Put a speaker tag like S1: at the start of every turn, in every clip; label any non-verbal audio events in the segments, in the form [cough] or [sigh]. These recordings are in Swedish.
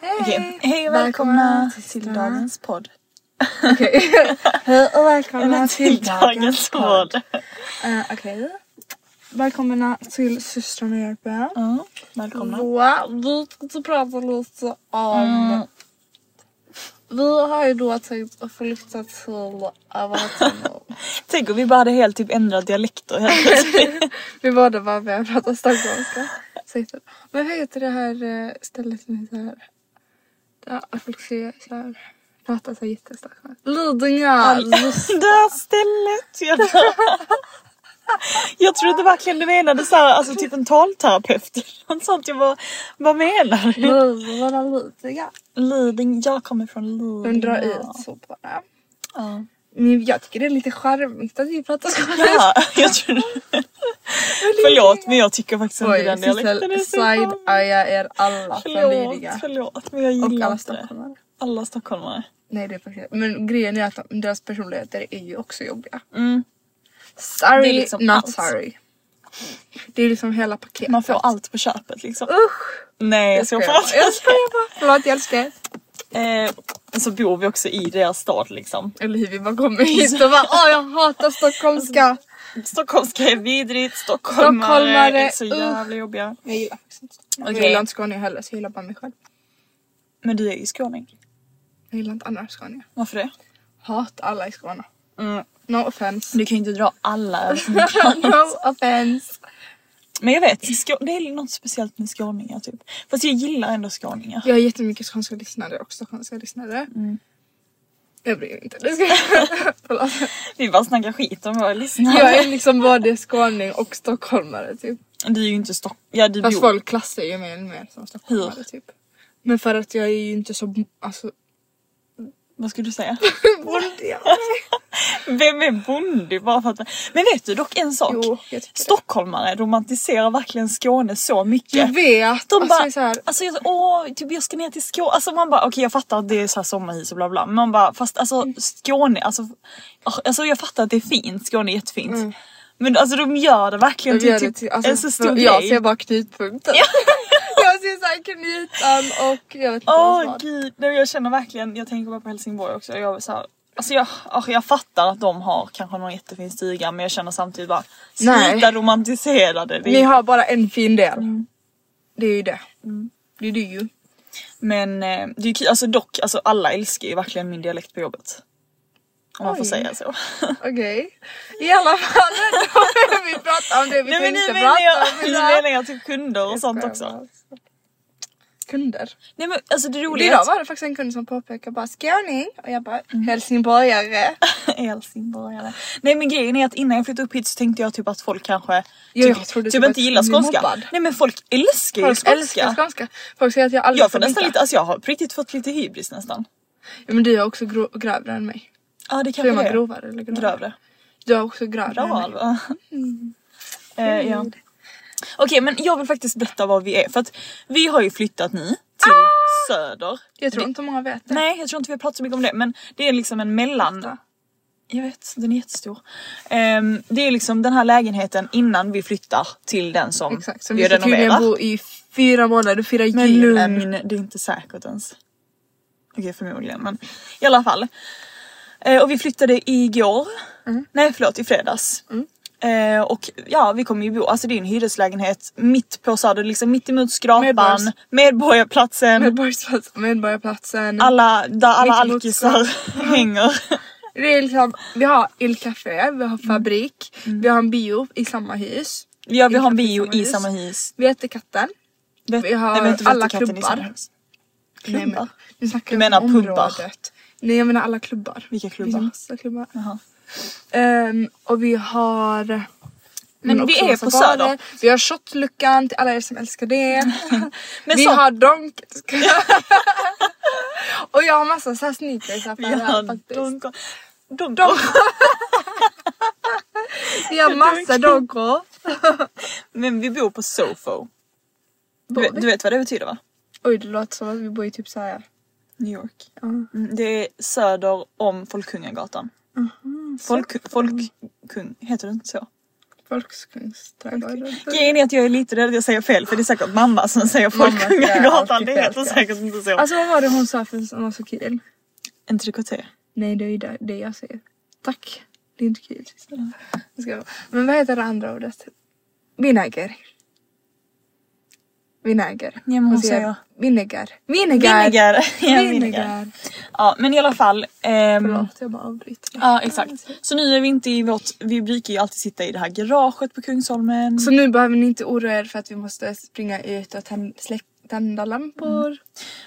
S1: Hej!
S2: Hej och
S1: Välkomna
S2: välkomna
S1: till dagens podd.
S2: Okej. Hej och välkomna till dagens podd.
S1: Eh, Okej. Välkomna till systrarna hjälper.
S2: Ja, välkomna.
S1: Då, vi tänkte prata lite om...
S2: Mm.
S1: Vi har ju då tänkt flytta till Avatarno.
S2: [laughs] Tänk om vi bara hade helt typ ändrat dialekt och helt plötsligt.
S1: vi båda bara började prata stockholmska. Så heter det- Men vad heter det här eh, stället som heter här? Där folk ser så här, pratar så här jättestockholmska. Lidingö!
S2: [laughs]
S1: just
S2: det här stället. Jag, jag trodde verkligen du menade så här, alltså typ en talterapeut eller något sånt. Jag bara, vad menar du?
S1: Lidingö, vad är Lidingö?
S2: Liding, jag kommer från Lidingö.
S1: Hon drar ut soporna.
S2: Ja.
S1: Men jag tycker det är lite charmigt att vi pratar skånska.
S2: Ja, jag trodde... Förlåt men jag tycker faktiskt inte
S1: Oj,
S2: den dialekten är
S1: Sissel,
S2: så charmig.
S1: side-eya er alla från Lidingö.
S2: Förlåt, förlåt men jag
S1: Och
S2: gillar
S1: alla
S2: inte det.
S1: stockholmare.
S2: Alla stockholmare.
S1: Nej det är faktiskt Men grejen är att de- deras personligheter är ju också jobbiga.
S2: Mm. Det
S1: Sorry,
S2: är liksom
S1: not
S2: allt.
S1: sorry. Det är liksom hela paketet.
S2: Man får allt på köpet liksom.
S1: Usch!
S2: Nej jag
S1: Jag
S2: ska
S1: skojar
S2: prata.
S1: bara. Jag skojar bara. Förlåt jag älskar er.
S2: Eh, så bor vi också i deras stad liksom.
S1: Eller hur vi bara kommer hit och bara åh jag hatar
S2: [laughs] Alltså,
S1: stockholmska.
S2: Stockholmska är vidrigt, stockholmare,
S1: Stockholmare,
S2: är så
S1: usch.
S2: jävla jobbiga.
S1: Jag gillar faktiskt inte Stockholm. Jag
S2: Okej.
S1: gillar inte Skåne heller så jag gillar bara mig själv.
S2: Men du är ju skåning.
S1: Jag gillar inte andra Skåne.
S2: Varför det?
S1: Hatar alla i Skåne.
S2: Mm.
S1: No
S2: [laughs]
S1: offense.
S2: Du kan ju inte dra alla [laughs] över sin
S1: [laughs] no offense.
S2: Men jag vet, Skå- det är något speciellt med skåningar typ. Fast jag gillar ändå skåningar.
S1: Jag har jättemycket skånska lyssnare och stockholmska lyssnare.
S2: Mm.
S1: Jag bryr mig inte. Det ska
S2: [laughs]
S1: jag. Förlåt.
S2: Vi bara snackar skit om våra lyssnare.
S1: jag är liksom både skåning och stockholmare typ.
S2: Du är ju inte stock... Ja du
S1: Fast
S2: bor...
S1: folk klassar ju mig mer som stockholmare
S2: Hur?
S1: typ. Men för att jag är ju inte så... Alltså... [laughs]
S2: Vad skulle du säga?
S1: bondig.
S2: Vem är bonde bara för att... Men vet du dock en sak?
S1: Jo, jag tycker det.
S2: Stockholmare romantiserar verkligen Skåne så mycket.
S1: Jag vet!
S2: De
S1: alltså,
S2: bara,
S1: det är så här,
S2: alltså jag, åh, typ jag ska ner till Skåne. Alltså man bara, okej jag fattar att det är så här sommarhus och bla bla. Men man bara, fast alltså
S1: Mm.
S2: Skåne, alltså, ah, alltså jag fattar att det är fint, Skåne är jättefint. Men alltså de gör det verkligen
S1: jag
S2: till
S1: Mm. gör
S2: typ
S1: det till, alltså,
S2: en så stor
S1: för-
S2: grej.
S1: Jag ser bara knutpunkten.
S2: [laughs]
S1: [laughs] jag ser såhär knutan och jag vet inte
S2: Åh
S1: vad.
S2: gud, nej, jag känner verkligen, jag tänker bara på Helsingborg också. Jag, är så här, alltså jag, ah, jag fattar att de har kanske någon jättefin stuga men jag känner samtidigt bara,
S1: Nej.
S2: sluta romantisera det. det
S1: Ni
S2: är,
S1: har bara en fin del.
S2: Mm.
S1: Det är ju det. Det är det ju.
S2: Men eh, det är ju kul, alltså dock, alltså alla älskar ju verkligen min dialekt på jobbet. Om man får
S1: Oj.
S2: säga så.
S1: Okej. I alla fall, då har vi pratat om det vi
S2: [laughs] Nej men nu
S1: tänkte
S2: menar jag,
S1: prata om
S2: nu
S1: idag.
S2: menar jag typ kunder och sånt
S1: skojar
S2: också.
S1: bara. Kunder.
S2: Nej men alltså
S1: Och
S2: det
S1: idag
S2: roliga
S1: var det faktiskt en kund som påpekade bara skåning och jag bara helsingborgare.
S2: Mm. är [laughs] helsingborgare. Nej men grejen är att innan jag flyttade upp hit så tänkte jag typ att folk kanske
S1: Ja, jag
S2: typ,
S1: trodde
S2: typ
S1: typ
S2: inte
S1: att
S2: gillar
S1: du blir
S2: skånska.
S1: mobbad.
S2: Nej men folk älskar ju
S1: Folk
S2: skånska.
S1: älskar skånska. Folk säger att jag aldrig
S2: Jag får
S1: får
S2: nästan
S1: vinka.
S2: lite, alltså jag har på riktigt fått lite hybris nästan.
S1: Ja, men du är också gro- grövre än mig.
S2: Ja det
S1: Så är
S2: kanske
S1: man
S2: det är.
S1: grovare eller grövre?
S2: Grövre.
S1: Du är också grövre
S2: Bra
S1: än mig.
S2: Alva. Eh, ja. Okej men jag vill faktiskt berätta var vi är för att vi har ju flyttat nu till Ah! söder.
S1: Jag tror inte många vet det.
S2: Nej jag tror inte vi har pratat så mycket om det men det är liksom en mellan... Jag vet, den är jättestor. Ehm, det är liksom den här lägenheten innan vi flyttar till den som
S1: Exakt. Så
S2: vi
S1: vi ska
S2: renoverar.
S1: tydligen bo i fyra månader, fyra
S2: Men
S1: jul.
S2: lugn, det är inte säkert ens. Okej förmodligen men i alla fall. Eh, och vi flyttade igår.
S1: Mm.
S2: Nej förlåt i fredags. Eh, och ja vi kommer ju bo, alltså det är en hyreslägenhet mitt på Söder, liksom mitt emot Skrapan,
S1: Medborgars-
S2: Medborgarplatsen,
S1: Medborgarplatsen. Medborgarplatsen.
S2: alla, där alla
S1: Mitt emot
S2: alkisar hänger.
S1: Det är liksom, vi har Il Café, vi har fabrik,
S2: Mm.
S1: vi har en bio i samma hus.
S2: Ja vi har en
S1: Exakt
S2: bio i samma hus.
S1: Vi äter katten.
S2: Vet-
S1: Vi har
S2: nej, men inte
S1: alla
S2: Vätterkatten i samma
S1: klubbar.
S2: hus.
S1: Nej, men,
S2: Klubbar?
S1: nu snackar
S2: Du
S1: jag
S2: menar
S1: om
S2: pubbar?
S1: området. Nej jag menar alla klubbar.
S2: Vilka
S1: Det
S2: klubbar?
S1: finns massa klubbar.
S2: Jaha.
S1: Ehm, och vi har...
S2: Men
S1: men
S2: vi
S1: också
S2: är
S1: massa
S2: på
S1: barer.
S2: Söder.
S1: Vi har shotluckan till alla er som älskar det.
S2: [laughs] Men
S1: vi
S2: så-
S1: har
S2: [laughs]
S1: donk... och jag har massa såhär sneakers här
S2: Vi
S1: här
S2: har
S1: faktiskt.
S2: Donkor.
S1: Donk.
S2: Donkor.
S1: Vi har massa donkor.
S2: Men vi bor på Sofo. Du,
S1: Bor
S2: vet-
S1: vi?
S2: du vet vad det betyder va?
S1: Oj det låter som att vi bor i typ såhär.
S2: New York.
S1: Ja.
S2: Mm, det är söder om Folkungagatan. Folk, folkkung, heter det inte så?
S1: Folkskungsträdgården.
S2: Grejen är att jag är lite rädd att jag säger fel för det är säkert mamma som säger
S1: Mamma säger
S2: Folkungagatan.
S1: alltid
S2: Det
S1: fel,
S2: heter
S1: ja.
S2: säkert inte så.
S1: Alltså vad var det hon sa för som var så kul?
S2: en trikoté.
S1: Nej det är ju det, det jag säger. Tack. Det är inte kul. Jag ska- Men vad heter det andra ordet? Vinäger. Vinäger.
S2: men hon säger-
S1: Vinäger. Vinäger. [laughs]
S2: Vinegar. [laughs] Ja, vinegar.
S1: Vinäger.
S2: Ja men i alla fall. ehm,
S1: Förlåt jag bara avbryter.
S2: ja exakt. Så nu är vi inte i vårt, vi brukar ju alltid sitta i det här garaget på Kungsholmen.
S1: Så nu behöver ni inte oroa er för att vi måste springa ut och tänd, släck, tända lampor.
S2: Mm.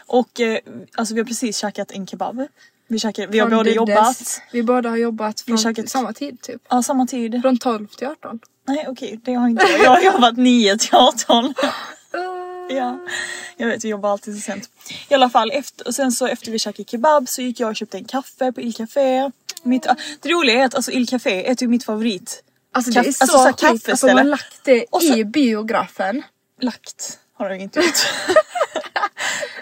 S2: Och eh, alltså vi har precis käkat en kebab. Vi, käkar, vi har
S1: Från
S2: båda
S1: Duddes.
S2: jobbat.
S1: Vi båda har jobbat från
S2: käkat-
S1: samma tid typ.
S2: Ja samma tid.
S1: Från 12 till 18.
S2: Nej okej, det har inte jag. Jag har jobbat 9 till
S1: [laughs]
S2: 18.
S1: Uh,
S2: Ja, jag vet vi jobbar alltid så sent. I alla fall, efter, och sen så efter vi käkade kebab så gick jag och köpte en kaffe på Il Café. Mitt, ah, det roliga är att alltså, Il Café är typ mitt favorit.
S1: Alltså det är
S2: Kaff-
S1: så
S2: alltså, så här
S1: skit. Alltså man har
S2: kaffeställe.
S1: lagt det
S2: Och så-
S1: i biografen.
S2: Lagt har jag
S1: [laughs]
S2: inte gjort.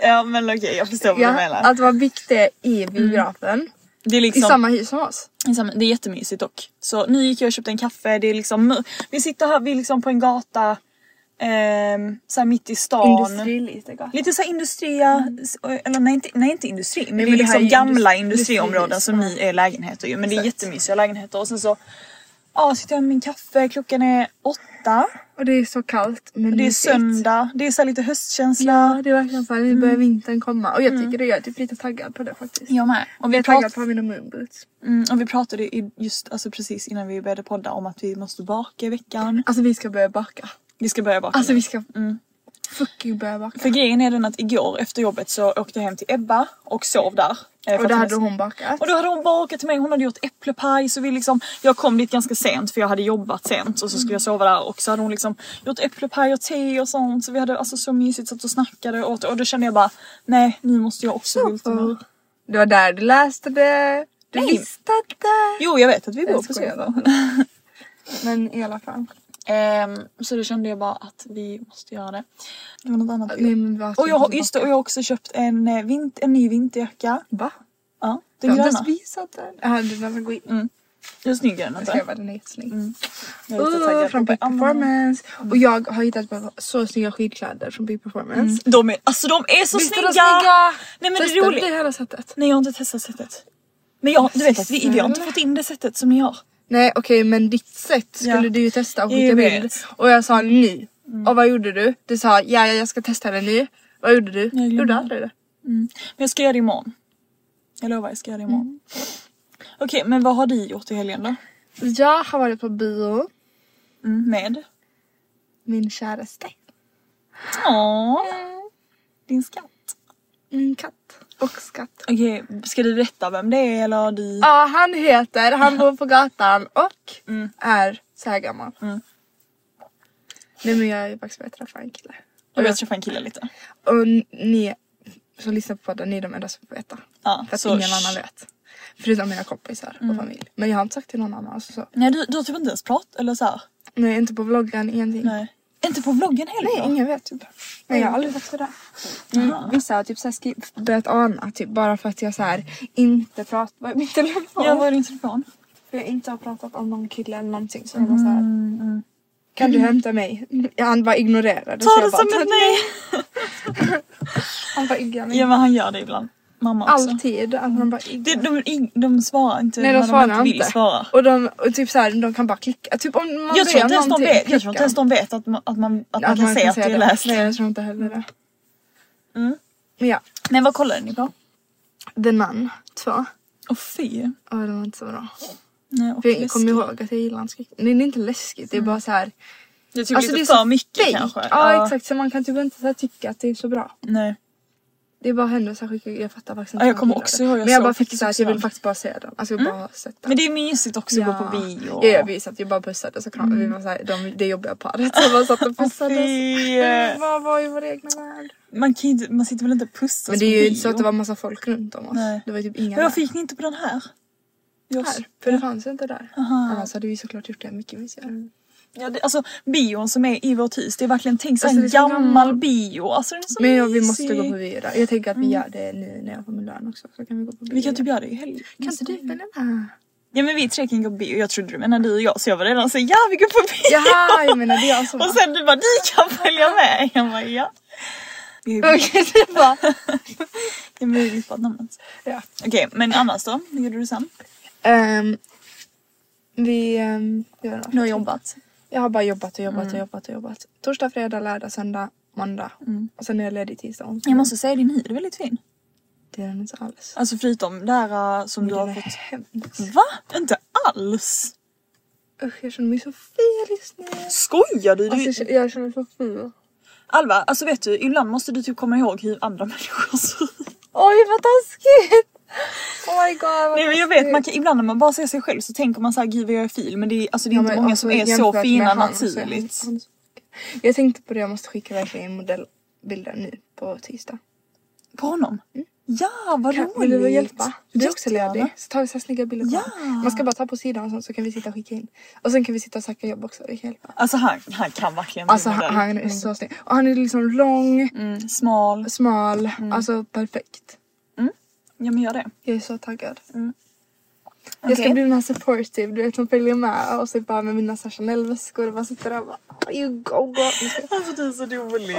S2: ja men okej, jag förstår vad du
S1: Ja,
S2: menar.
S1: att man fick det i biografen.
S2: Det är
S1: I
S2: liksom,
S1: samma hus som oss.
S2: i samma- det är jättemysigt dock. Så nu gick jag och köpte en kaffe, det är liksom, vi sitter här, vi är liksom på en gata. ehm, så här mitt i stan.
S1: Industri lite gott.
S2: Lite så här industria, s- eller nej inte, nej inte industri, men
S1: Nej,
S2: det är
S1: men det här
S2: liksom
S1: är ju
S2: gamla
S1: industri-
S2: industriområden
S1: industrihus,
S2: som
S1: ja.
S2: ni är lägenheter ju. Men det är
S1: Exakt.
S2: jättemysiga lägenheter och sen så ja, sitter jag med min kaffe, klockan är åtta.
S1: Och det är så kallt men
S2: Det är
S1: mysigt.
S2: söndag, Mm. det är så här lite
S1: Ja
S2: höstkänsla.
S1: det är verkligen såhär nu börjar vintern komma och jag tycker det, jag är typ lite taggad på det faktiskt.
S2: Jag med. Mm. Och
S1: Jag
S2: vi,
S1: är taggad
S2: prat,
S1: på mina moonboots.
S2: mm, och vi pratade i- just alltså precis innan vi började podda om att vi måste baka i veckan.
S1: Alltså vi ska börja baka.
S2: Vi ska börja baka.
S1: Alltså
S2: nu.
S1: vi ska fucking börja baka.
S2: Mm. För grejen är den att igår efter jobbet så åkte jag hem till Ebba och sov där. eh, för
S1: och
S2: att
S1: det
S2: hon
S1: hade
S2: är-
S1: hon bakat.
S2: Och då hade hon bakat till mig, hon hade gjort äpplepaj så vi liksom, jag kom dit ganska sent för jag hade jobbat sent och så skulle jag sova där och så hade hon liksom gjort äpplepaj och te och sånt så vi hade alltså så mysigt satt och snackade och åt det. och då kände jag bara nej nu måste jag också gå ut och
S1: Sofo. Det var där du läste det. Du
S2: Nej.
S1: visste det.
S2: Jo jag vet att vi bor
S1: Jag
S2: på
S1: skojar
S2: Sofo. [laughs]
S1: Men i alla fall.
S2: Ehm, så då kände jag bara att vi måste göra det. Det var något annat.
S1: Nej, men vad
S2: och jag har, just det, och jag har också köpt en, eh, vint, en ny vinterjacka.
S1: Va?
S2: Ja,
S1: Jag
S2: den
S1: har inte
S2: gröna.
S1: ens visat den. Jaha du behöver gå in.
S2: Den är snygg grön
S1: Jag
S2: alltså.
S1: ska bara den är jättesnygg.
S2: Jag är lite
S1: Uh,
S2: taggad.
S1: från Big
S2: Jag bara, ah,
S1: Performance. Och jag har hittat bara så snygga skidkläder från Big Performance. Mm.
S2: De är, alltså de är så snygga! Nej men det är roligt.
S1: det hela sättet.
S2: Nej jag har inte testat sättet. Men jag, du vet att vi, vi har inte
S1: Snälla.
S2: fått in det sättet som ni har.
S1: Nej okej men ditt sätt skulle
S2: Ja.
S1: du ju testa och Mm.
S2: Jag
S1: skicka
S2: vet.
S1: bild. Och jag sa nu. Och vad gjorde du? Du sa ja, ja jag ska testa det nu. Vad gjorde du?
S2: Jag
S1: gjorde
S2: glömde.
S1: aldrig det.
S2: Men jag ska göra det imorgon. Jag lovar jag ska göra det imorgon.
S1: Mm.
S2: Okej men vad har du gjort i helgen då?
S1: Jag har varit på bio.
S2: Mm, med?
S1: Min käraste.
S2: Åh, din skatt.
S1: Min katt. Och skatt.
S2: Okej, ska du berätta vem det är eller du?
S1: Ja, han heter, han bor på gatan och är så här gammal.
S2: Mm.
S1: Nej men jag är faktiskt börjat träffa en kille.
S2: Jag började träffa en kille lite.
S1: Och ni, så lyssna på podden, ni är de enda som får veta.
S2: Ja,
S1: för att
S2: så- Mm.
S1: ingen annan vet. Förutom mina kompisar och familj. Men jag har inte sagt till någon annan. Så, så.
S2: Nej du, du har typ inte ens pratat eller så här.
S1: Nej, inte på vloggen, ingenting.
S2: Nej. Inte på vloggen heller?
S1: Nej, ingen vet typ. Nej, jag har aldrig fått sådär. Mm. Vissa har typ såhär skri- börjat ana typ bara för att jag såhär inte pratar i min telefon.
S2: Jag var i din telefon.
S1: För jag inte har pratat om någon kille eller någonting. Så de var såhär.
S2: Mm,
S1: Kan du hämta mig? Ja, han bara ignorerade. så
S2: Ta
S1: jag
S2: det
S1: bara,
S2: som ett nej!
S1: Han bara iggar mig.
S2: Ja men han gör det ibland. Mamma också.
S1: Alltid. Alltså, han bara iggar.
S2: De, de, de, de svarar inte
S1: Nej
S2: när
S1: de svarar
S2: inte vill
S1: inte.
S2: svara.
S1: Och, de, och typ såhär, de kan bara klicka. Typ om man
S2: Jag
S1: ber
S2: tror inte ens de
S1: någonting,
S2: vet, jag tror inte
S1: klicka.
S2: ens de vet att man, att man, att man
S1: Att
S2: kan se att det är läst. Mm.
S1: Nej jag tror inte heller det. Men ja,
S2: Men vad kollade ni på?
S1: The Nun 2.
S2: Åh fy.
S1: Ja den var inte så bra.
S2: Nej, och
S1: För jag kommer
S2: läskigt. Mm.
S1: ihåg att jag gillar inte skräck. Nej det är inte läskigt, det är bara så här.
S2: Det är typ
S1: alltså,
S2: lite
S1: det är
S2: för mycket
S1: fake.
S2: kanske.
S1: Ja, exakt, så man kan typ inte så här, tycka att det är så bra.
S2: Nej.
S1: Det bara händer så här sjuka grejer. jag fattar faktiskt inte.
S2: Ja, jag
S1: hur
S2: kommer
S1: man
S2: också
S1: gillar det.
S2: ihåg, jag
S1: Men jag
S2: såg
S1: bara fick
S2: faktiskt
S1: så här, så jag
S2: också
S1: vill
S2: den.
S1: faktiskt bara se den. Alltså jag bara har sett den.
S2: Men det är mysigt också att gå på bio. Mm.
S1: Ja, ja vi satt ju bara och pussade så kramade vi var såhär, de, det jobbiga paret som bara satt och pussades.
S2: Fy.
S1: Vi bara var i vår egna värld.
S2: Man, kan inte, man sitter väl inte och pussas
S1: Men det
S2: på
S1: är ju
S2: bio?
S1: inte så att det var massa folk runt om oss.
S2: Nej.
S1: Det var typ inga
S2: Men
S1: där.
S2: varför gick ni inte på den här? Jag-
S1: här. För det fanns ju inte där. Annars hade vi såklart gjort det mycket mysigare.
S2: Mm. Ja, det, alltså bion som är i vårt hus, det är verkligen tänk så
S1: Alltså, det
S2: en
S1: är så
S2: gammal,
S1: gammal.
S2: bio. Alltså den är så
S1: Men ja, vi måste
S2: mysig.
S1: gå på bio där. Jag tänker att vi gör det nu när jag får min lön också. Så kan vi gå på bio.
S2: Vi kan typ göra det i helgen.
S1: Kan inte du följa med?
S2: Ja men vi tre kan gå på bio. Jag trodde du menade du och jag så jag var redan så ja vi går på bio.
S1: Jaha, jag menar det är jag som
S2: Och sen du bara ni kan följa med. Jag bara ja. Vi har ju-
S1: [laughs] Okej, det var...
S2: Ja, men vi har ju vippat namnet. [laughs]
S1: Ja.
S2: Okej men annars då? Vad gjorde du sen?
S1: Ehm, vi... ehm, gör något. Mm.
S2: Du har jobbat.
S1: Jag har bara jobbat och jobbat och jobbat och jobbat. Torsdag, fredag, lördag, söndag, måndag. Och sen är Mm. jag ledig tisdag, onsdag.
S2: Jag måste säga din hy är väldigt fin.
S1: Det är den inte alls.
S2: Alltså förutom det här äh, som du
S1: Den
S2: har
S1: är
S2: fått.
S1: hemsk.
S2: Va? Inte alls?
S1: Usch, jag känner mig så fel just nu.
S2: Skojar du? du...
S1: Alltså, jag- jag känner mig så ful.
S2: Alva, alltså vet du, ibland måste du typ komma ihåg hur andra [laughs] människor ser ut.
S1: Oj vad taskigt! [laughs] Oh my god vad
S2: Nej men jag vet, man
S1: taskigt.
S2: kan, ibland när man bara ser sig själv så tänker man såhär gud vad jag är fil men det är, alltså, det är inte
S1: Ja, men
S2: många
S1: alltså,
S2: som är så
S1: jämfört med
S2: fina
S1: han,
S2: naturligt.
S1: så är han- han- Jag tänkte på det, jag måste skicka verkligen modellbilder nu på tisdag.
S2: På honom? Ja vad
S1: Kan,
S2: roligt!
S1: vill du hjälpa? Du är också
S2: Jättegärna.
S1: ledig. Så tar vi så här snygga bilder på
S2: Ja.
S1: honom. Man ska bara ta på sidan och sånt så kan vi sitta och skicka in. Och sen kan vi sitta och söka jobb också, vi kan hjälpa.
S2: Alltså han, han kan verkligen bli
S1: Alltså
S2: modell.
S1: han, han är så snygg. Och han är liksom lång,
S2: Mm, smal.
S1: smal, alltså perfekt.
S2: Ja men gör det.
S1: Jag är så taggad. Jag ska
S2: Mm. Okej.
S1: bli den här supportive, du vet som följer med och så bara med mina så här Chanel-väskor och bara sitter där och bara "Oh, you go girl. Nu ska jag-
S2: Alltså du är så rolig.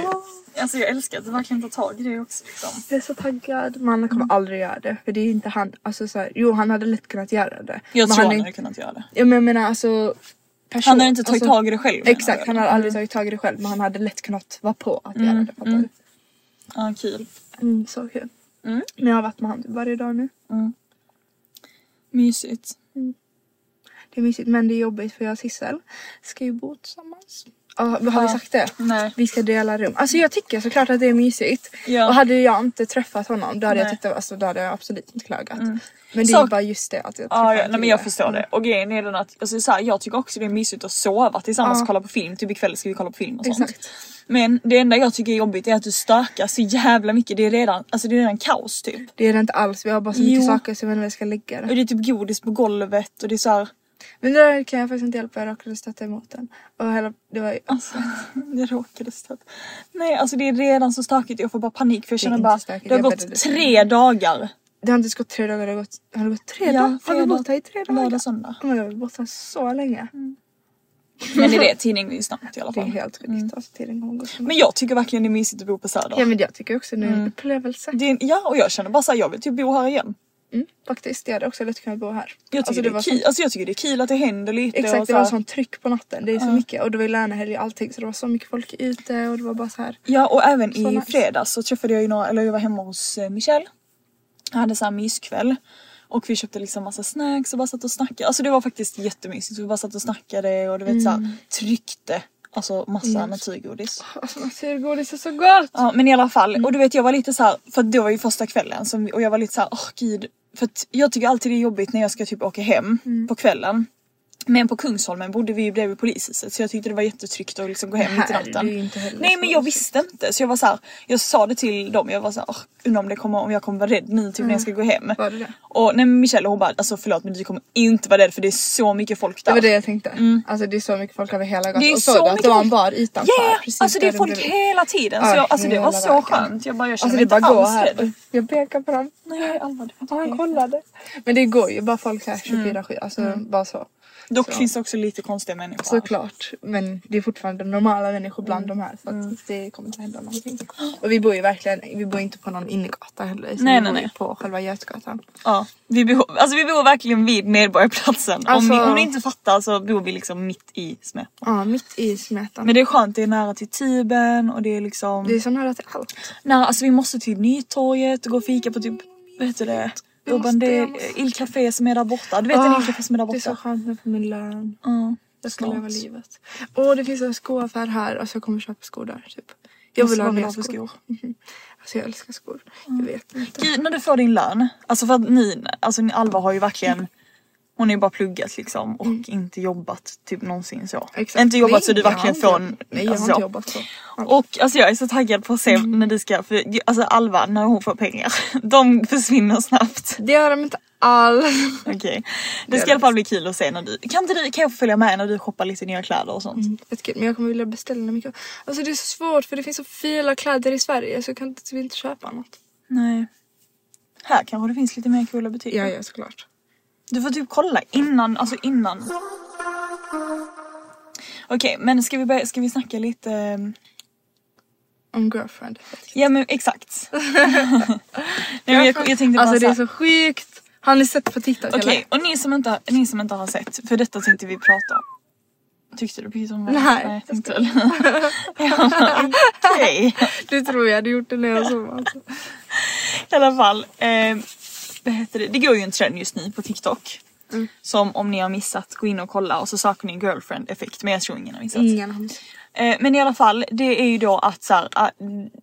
S2: Alltså jag älskar att du verkligen tar tag i det också liksom.
S1: Jag är så taggad. Men han kommer
S2: Mm.
S1: aldrig göra det för det är inte han. Alltså så här, jo han hade lätt kunnat göra det.
S2: Jag
S1: men han
S2: tror han
S1: är
S2: hade
S1: inte-
S2: kunnat göra det.
S1: Ja men jag menar alltså. Person,
S2: Han hade inte tagit tag i det själv, menar du,
S1: Alltså, Exakt han hade
S2: Mm.
S1: aldrig tagit tag i det själv men han hade lätt kunnat vara på att göra det. Fattar du?
S2: Ja kul.
S1: Mm, så kul. Men jag har varit med honom typ varje dag nu.
S2: Mysigt.
S1: Det är mysigt men det är jobbigt för jag och Sissel ska ju bo tillsammans. Ja, har vi sagt det?
S2: Nej.
S1: Vi ska dela rum. Alltså jag tycker såklart att det är mysigt.
S2: Ja.
S1: Och hade jag inte träffat honom då hade, jag,
S2: Nej.
S1: tyckt, att- alltså, då hade jag absolut inte klagat. Men det är
S2: Sak-
S1: bara just det att jag
S2: Ja, ja
S1: en
S2: nej, men jag
S1: kille.
S2: förstår Typ det. Och grejen är den att alltså, så här, jag tycker också det är mysigt att sova tillsammans
S1: Ja.
S2: och kolla på film. Typ ikväll ska vi kolla på film och sånt.
S1: Exakt.
S2: Men det enda jag tycker är jobbigt är att du stökar så jävla mycket. Det är redan, alltså, det är redan kaos typ.
S1: Det är det inte alls. Vi har bara så mycket
S2: Jo.
S1: saker så jag vet inte var jag ska lägga
S2: Och
S1: det.
S2: det är typ godis på golvet och det är så här,
S1: Men det där kan jag faktiskt inte hjälpa. Jag råkade stöta emot den. Och hela, det var ju...
S2: Alltså, [laughs] jag råkade stöta. Nej alltså det är redan så stökigt. Jag får bara panik för jag
S1: Det är
S2: känner
S1: inte
S2: bara
S1: stökigt,
S2: det har
S1: jag
S2: gått
S1: bäddade
S2: tre dagar.
S1: Det har inte gått tre dagar. Det har gått, har det gått tre
S2: Ja,
S1: dagar? Har vi
S2: fredag,
S1: bott här i tre dagar?
S2: lördag, söndag.
S1: Oh my god, vi har bott här så länge.
S2: Men det är
S1: [laughs]
S2: det, tiden går ju snabbt i alla
S1: Det är
S2: fall. Mm.
S1: helt sjukt. Alltså, tiden kommer gå så
S2: Men jag tycker verkligen det är mysigt att bo på Söder.
S1: Ja men jag tycker också det är en upplevelse.
S2: Det är, en- ja och jag känner bara såhär jag vill typ bo här igen.
S1: Mm, faktiskt. Jag hade också lätt kunnat bo här.
S2: Jag tycker,
S1: Alltså,
S2: det
S1: var
S2: är
S1: så-
S2: kul, alltså, jag tycker det är kul att det händer lite. och
S1: Exakt, det
S2: så här-
S1: var sån tryck på natten. Det är så mycket. Och det var ju lönehelg och allting så det var så mycket folk ute och det var bara så här.
S2: Ja och även i
S1: Så nice.
S2: fredags så träffade jag ju några, eller jag var hemma hos eh, Michelle. Jag hade så här myskväll. Och vi köpte liksom massa snacks och bara satt och snackade. Alltså det var faktiskt jättemysigt. Vi bara satt och snackade och du vet så
S1: Mm.
S2: här, tryckte. Alltså massa naturgodis.
S1: Alltså naturgodis är så gott!
S2: Ja men i alla fall.
S1: Mm.
S2: Och du vet jag var lite så här, för det var ju första kvällen som, vi- och
S1: Mm.
S2: jag var lite så här, åh gud. För att jag tycker alltid det är jobbigt när jag ska typ åka hem på kvällen. Men på Kungsholmen bodde vi ju bredvid polishuset så jag tyckte det var jättetryggt att liksom gå hem mitt i
S1: Här är det
S2: natten.
S1: ju inte heller
S2: Nej
S1: så
S2: men jag
S1: mysigt.
S2: visste inte så jag var så här, jag sa det till dem, jag var så här, "Åh, undrar om, det kommer, om jag kommer vara rädd nu typ när jag ska gå hem.
S1: Mm. Var det det?
S2: Och nej men Michelle hon bara alltså förlåt men du kommer inte vara rädd för det är så mycket folk där.
S1: Det var det jag tänkte. Alltså det är så mycket folk över hela gatan.
S2: Mm. Det är
S1: Och såg du att det var en bar utanför?
S2: Yeah!
S1: precis
S2: alltså det är
S1: där
S2: folk
S1: bredvid?
S2: hela tiden.
S1: Ja,
S2: så jag, alltså det var
S1: hela
S2: så
S1: vägen.
S2: skönt. Jag bara jag
S1: Alltså
S2: känner
S1: det är bara
S2: mig
S1: gå
S2: inte alls
S1: här.
S2: rädd.
S1: Jag pekar på dem.
S2: Nej Alma du får inte
S1: Ja, han
S2: peka.
S1: kollade. Men det går ju bara folk här
S2: Mm.
S1: 24-7. Alltså bara så.
S2: Dock
S1: Så.
S2: finns det också lite konstiga människor.
S1: Såklart. Men det är fortfarande normala människor bland
S2: Mm.
S1: de här. Så att det kommer inte hända någonting. Och vi bor ju verkligen, vi bor inte på någon innergata heller. Så
S2: Nej,
S1: vi
S2: nej,
S1: bor ju
S2: nej.
S1: på själva Götgatan.
S2: Ja, vi bor, alltså vi bor verkligen vid Medborgarplatsen.
S1: Alltså-
S2: Om, ni, om ni inte fattar så bor vi liksom mitt i Smeten.
S1: Ja, mitt i Smetan.
S2: Men det är skönt, det är nära till Tiben och det är liksom...
S1: det är så nära till allt.
S2: Nära, alltså vi måste till Nytorget och gå och fika på typ, vad heter det?
S1: Vi måste,
S2: Urban
S1: jag
S2: del,
S1: måste.
S2: Il Café som är där borta. Du vet en
S1: Ah,
S2: Il Café som är där borta?
S1: Det är så skönt nu för min lön.
S2: Ja,
S1: Jag ska leva
S2: snart.
S1: livet. Åh det finns en skoaffär här. Alltså jag kommer köpa skor där typ. Jag
S2: Alltså,
S1: vill ha
S2: vad vill
S1: nya
S2: du ha för
S1: skor.
S2: skor? Mm.
S1: Mhm. [laughs] Alltså jag älskar skor. Jag vet inte.
S2: Gud, när du får din lön. Alltså för att ni, alltså ni Alva har ju verkligen hon har ju bara pluggat liksom och inte jobbat typ någonsin så.
S1: Mm. Exakt.
S2: Inte jobbat
S1: Nej,
S2: så du
S1: jag har
S2: verkligen
S1: inte
S2: får en...
S1: jobbat. Nej jag har
S2: alltså
S1: inte
S2: så.
S1: jobbat Mm. så.
S2: Och alltså jag är så taggad på att se när du ska, för alltså Alva när hon får pengar, [laughs] de försvinner
S1: [laughs]
S2: snabbt.
S1: Det gör de inte alls. [laughs]
S2: Okej. Det ska i alla fall bli kul att se när du, kan inte du, kan jag få följa med när du shoppar lite nya kläder och sånt?
S1: Jättekul, Men jag kommer vilja beställa mycket. Alltså det är så svårt för det finns så fula kläder i Sverige så jag kan typ inte köpa något.
S2: Nej. Här kanske det finns lite mer coola butiker.
S1: Ja ja såklart.
S2: Du får typ kolla innan, alltså innan. Okej men ska vi börja, ska vi snacka lite, ehm,
S1: Om girlfriend.
S2: ja men
S1: [laughs]
S2: exakt. Nej, men jag, jag tänkte bara
S1: alltså det
S2: så
S1: är
S2: här-
S1: så sjukt. Har ni sett på TikTok
S2: Okej,
S1: eller?
S2: och ni som, inte, ni som inte har sett, för detta tänkte vi prata om. Tyckte du precis om vad
S1: Nej,
S2: Nej,
S1: jag
S2: tänkte väl. [laughs] Ja, men Okej,
S1: Du tror jag hade gjort [laughs] det när jag sov
S2: [laughs]
S1: alltså.
S2: i alla fall. Eh, vad heter det? det går ju en trend just nu på TikTok.
S1: Mm.
S2: Som om ni har missat, gå in och kolla och så söker ni girlfriend effekt. Men jag tror ingen har missat.
S1: Ingen har missat.
S2: Eh, men i alla fall, det är ju då att, så här, att,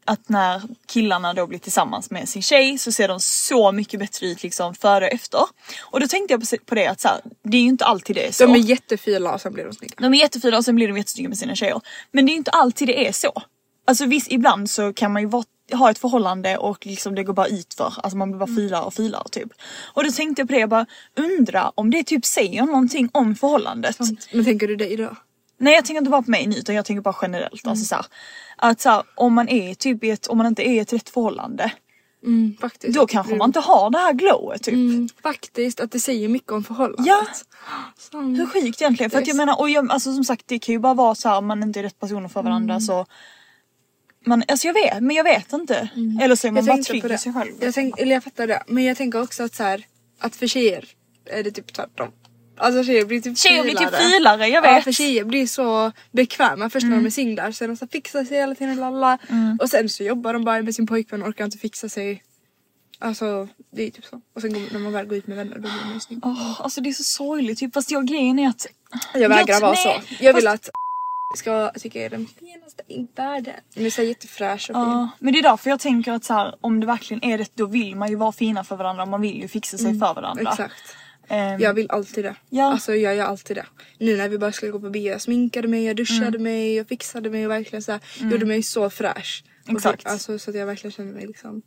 S2: att när killarna då blir tillsammans med sin tjej så ser de så mycket bättre ut liksom före och efter. Och då tänkte jag på, på det att så här, det är ju inte alltid det är så.
S1: De är jättefula och sen blir de snygga.
S2: De är jättefina och sen blir de jättesnygga med sina tjejer. Men det är ju inte alltid det är så. Alltså visst, ibland så kan man ju vara, ha ett förhållande och liksom det går bara utför. Alltså man blir
S1: Mm.
S2: bara filare och filare typ. Och då tänkte jag på det, jag bara undra om det typ säger någonting om förhållandet.
S1: Men tänker du dig då?
S2: Nej jag tänker inte bara på mig nu utan jag tänker bara generellt. Alltså så här, att så här, om man är typ i ett, om man inte är i ett rätt förhållande.
S1: Faktiskt.
S2: Mm. Då kanske man inte har det här glowet typ.
S1: Mm, faktiskt, att det säger mycket om förhållandet. Alltså.
S2: Ja.
S1: Sant.
S2: Hur sjukt egentligen? För att jag menar, och jag, alltså som sagt det kan ju bara vara så här, om man inte är rätt personer för varandra
S1: Mm.
S2: så man, alltså jag vet, men jag vet inte. Eller så är man bara
S1: Mm. tänkte
S2: trygg
S1: på
S2: i
S1: det.
S2: sig själv.
S1: Jag tänk, eller jag fattar det. Men jag tänker också att så här, att för tjejer är det typ tvärtom. Alltså tjejer blir typ
S2: Tjejer blir typ
S1: filare.
S2: filare, jag
S1: Ja
S2: vet. Mm.
S1: för tjejer blir så bekväma först när de är singlar. Sen de så fixar sig hela tiden lalla. Och sen så jobbar de bara med sin pojkvän och orkar inte fixa sig. Alltså det är typ så. Och sen går, när man väl går ut med vänner då blir man ju snygg.
S2: Åh, alltså det är så sorgligt typ, fast jag grejen är att
S1: Jag vägrar
S2: Jag-
S1: vara
S2: nej,
S1: så. Jag vill
S2: fast-
S1: att ska tycka jag är den finaste i världen. Hon är så här jättefräsch och fin.
S2: Ja, men det är därför jag tänker att så här, om det verkligen är rätt då vill man ju vara fina för varandra och man vill ju fixa sig för varandra.
S1: Mm. Exakt.
S2: Ehm,
S1: Jag vill alltid det.
S2: Ja.
S1: Alltså jag gör alltid det. Nu när vi bara skulle gå på bio, jag sminkade mig, jag duschade
S2: Mm.
S1: mig, jag fixade mig och verkligen så här, gjorde mig så fräsch. Och
S2: Exakt. Mm.
S1: fick- alltså, så att jag verkligen kände mig liksom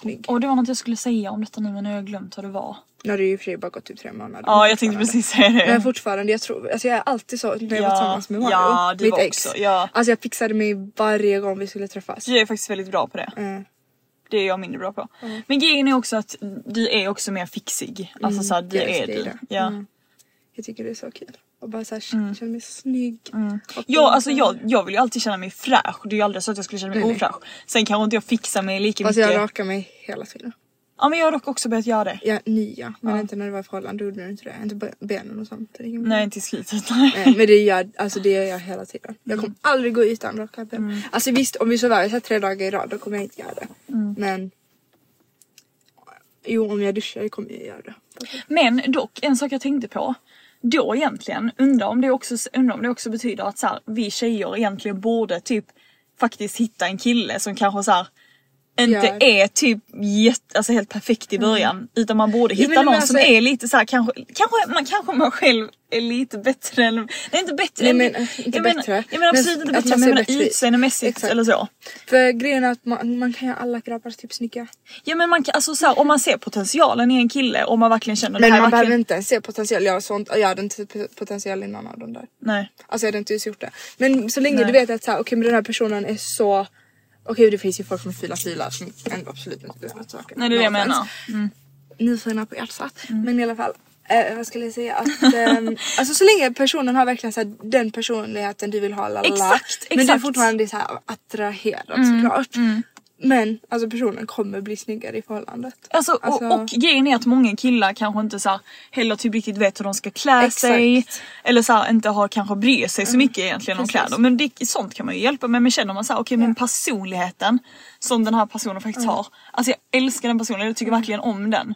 S1: snygg.
S2: Och det var något jag skulle säga om detta nu men nu har jag glömt vad det var.
S1: Nu har det ju i och för sig bara gått typ tre månader.
S2: Ja jag tänkte precis säga det.
S1: Men fortfarande, jag tror, alltså jag är alltid så när jag var
S2: Ja,
S1: tillsammans med Mario,
S2: ja, du
S1: mitt
S2: var
S1: ex.
S2: också, ja.
S1: Alltså jag fixade mig varje gång vi skulle träffas. Eh,
S2: Jag är faktiskt väldigt bra på det. Det är jag mindre bra på. Men grejen är också att du är också mer fixig. Alltså så här, du
S1: jag
S2: är
S1: älskar ju
S2: du.
S1: det.
S2: Ja.
S1: Jag tycker det är så kul. Och bara såhär mm. känna mig snygg. Och-
S2: Ja, alltså jag, jag vill ju alltid känna mig fräsch. Det är ju aldrig så att jag skulle känna mig
S1: Nej, nej.
S2: ofräsch. Sen kanske inte jag fixar mig lika
S1: Alltså jag
S2: mycket.
S1: rakar mig hela tiden.
S2: Ja men jag har dock också börjat göra det.
S1: Ja, nya. Men inte när det var i förhållande. Då gjorde du inte det. Inte be- benen och sånt. Det är ingen-
S2: Nej inte i [laughs] slutet. Nej.
S1: Nej, men det gör, alltså det gör jag hela tiden. Jag
S2: Mm.
S1: kommer aldrig gå utan raka ben. Alltså visst om vi sover över så här tre dagar i rad då kommer jag inte göra det.
S2: Mm.
S1: Men jo om jag duschar kommer jag göra det.
S2: Men dock en sak jag tänkte på. Då egentligen undrar om det också, undrar om det också betyder att så här, vi tjejer egentligen borde typ faktiskt hitta en kille som kanske så här inte
S1: Gör.
S2: är typ jätte, alltså helt perfekt i början. Utan man borde
S1: Jo, Mm. men
S2: hitta
S1: jag
S2: någon
S1: menar,
S2: som
S1: alltså-
S2: är lite så här, kanske, kanske, man kanske man själv är lite bättre än, nej inte bättre.
S1: Nej,
S2: än-
S1: men, eh, inte
S2: jag menar-
S1: bättre.
S2: Jag menar
S1: Men
S2: absolut inte
S1: att
S2: bättre
S1: man
S2: men jag
S1: ser
S2: menar
S1: bättre ut.
S2: utseendemässigt
S1: Exakt.
S2: eller så.
S1: För grejen är att man, man kan göra alla grabbar typ snygga.
S2: Ja men man kan, alltså så här, om man ser potentialen i en kille och man verkligen känner
S1: Men
S2: det här
S1: man
S2: är verkligen...
S1: behöver inte ens se potential. Jag, har sånt, jag hade inte sett potential i någon av dem där.
S2: Nej.
S1: Alltså jag hade inte ens gjort det. Men så länge
S2: Nej.
S1: du vet att så här, okej men den här personen är så... Okej det finns ju folk som filar filar som ändå absolut inte behöver saker.
S2: Nej det är det jag
S1: No offense.
S2: menar. Mm.
S1: nyfiken på hjärtat. Men i alla fall. Eh, vad skulle jag säga? Att,
S2: [laughs]
S1: ehm, alltså så länge personen har verkligen så här, den personligheten du vill ha. Lala,
S2: Exakt,
S1: Men du är
S2: exakt. Mm,
S1: fortfarande så här attraherad såklart. Men alltså personen kommer bli snyggare i förhållandet.
S2: Alltså, Och, och grejen är att många killar kanske inte så här, heller typ riktigt vet hur de ska klä
S1: Exakt. Mm.
S2: sig. Eller så här, inte har kanske bryr sig så mycket egentligen om
S1: Precis.
S2: kläder. Men det, sånt kan man ju hjälpa med. Men känner man så här, okej men personligheten som den här personen faktiskt
S1: Mm.
S2: har. Alltså jag älskar den personen, jag tycker verkligen om den.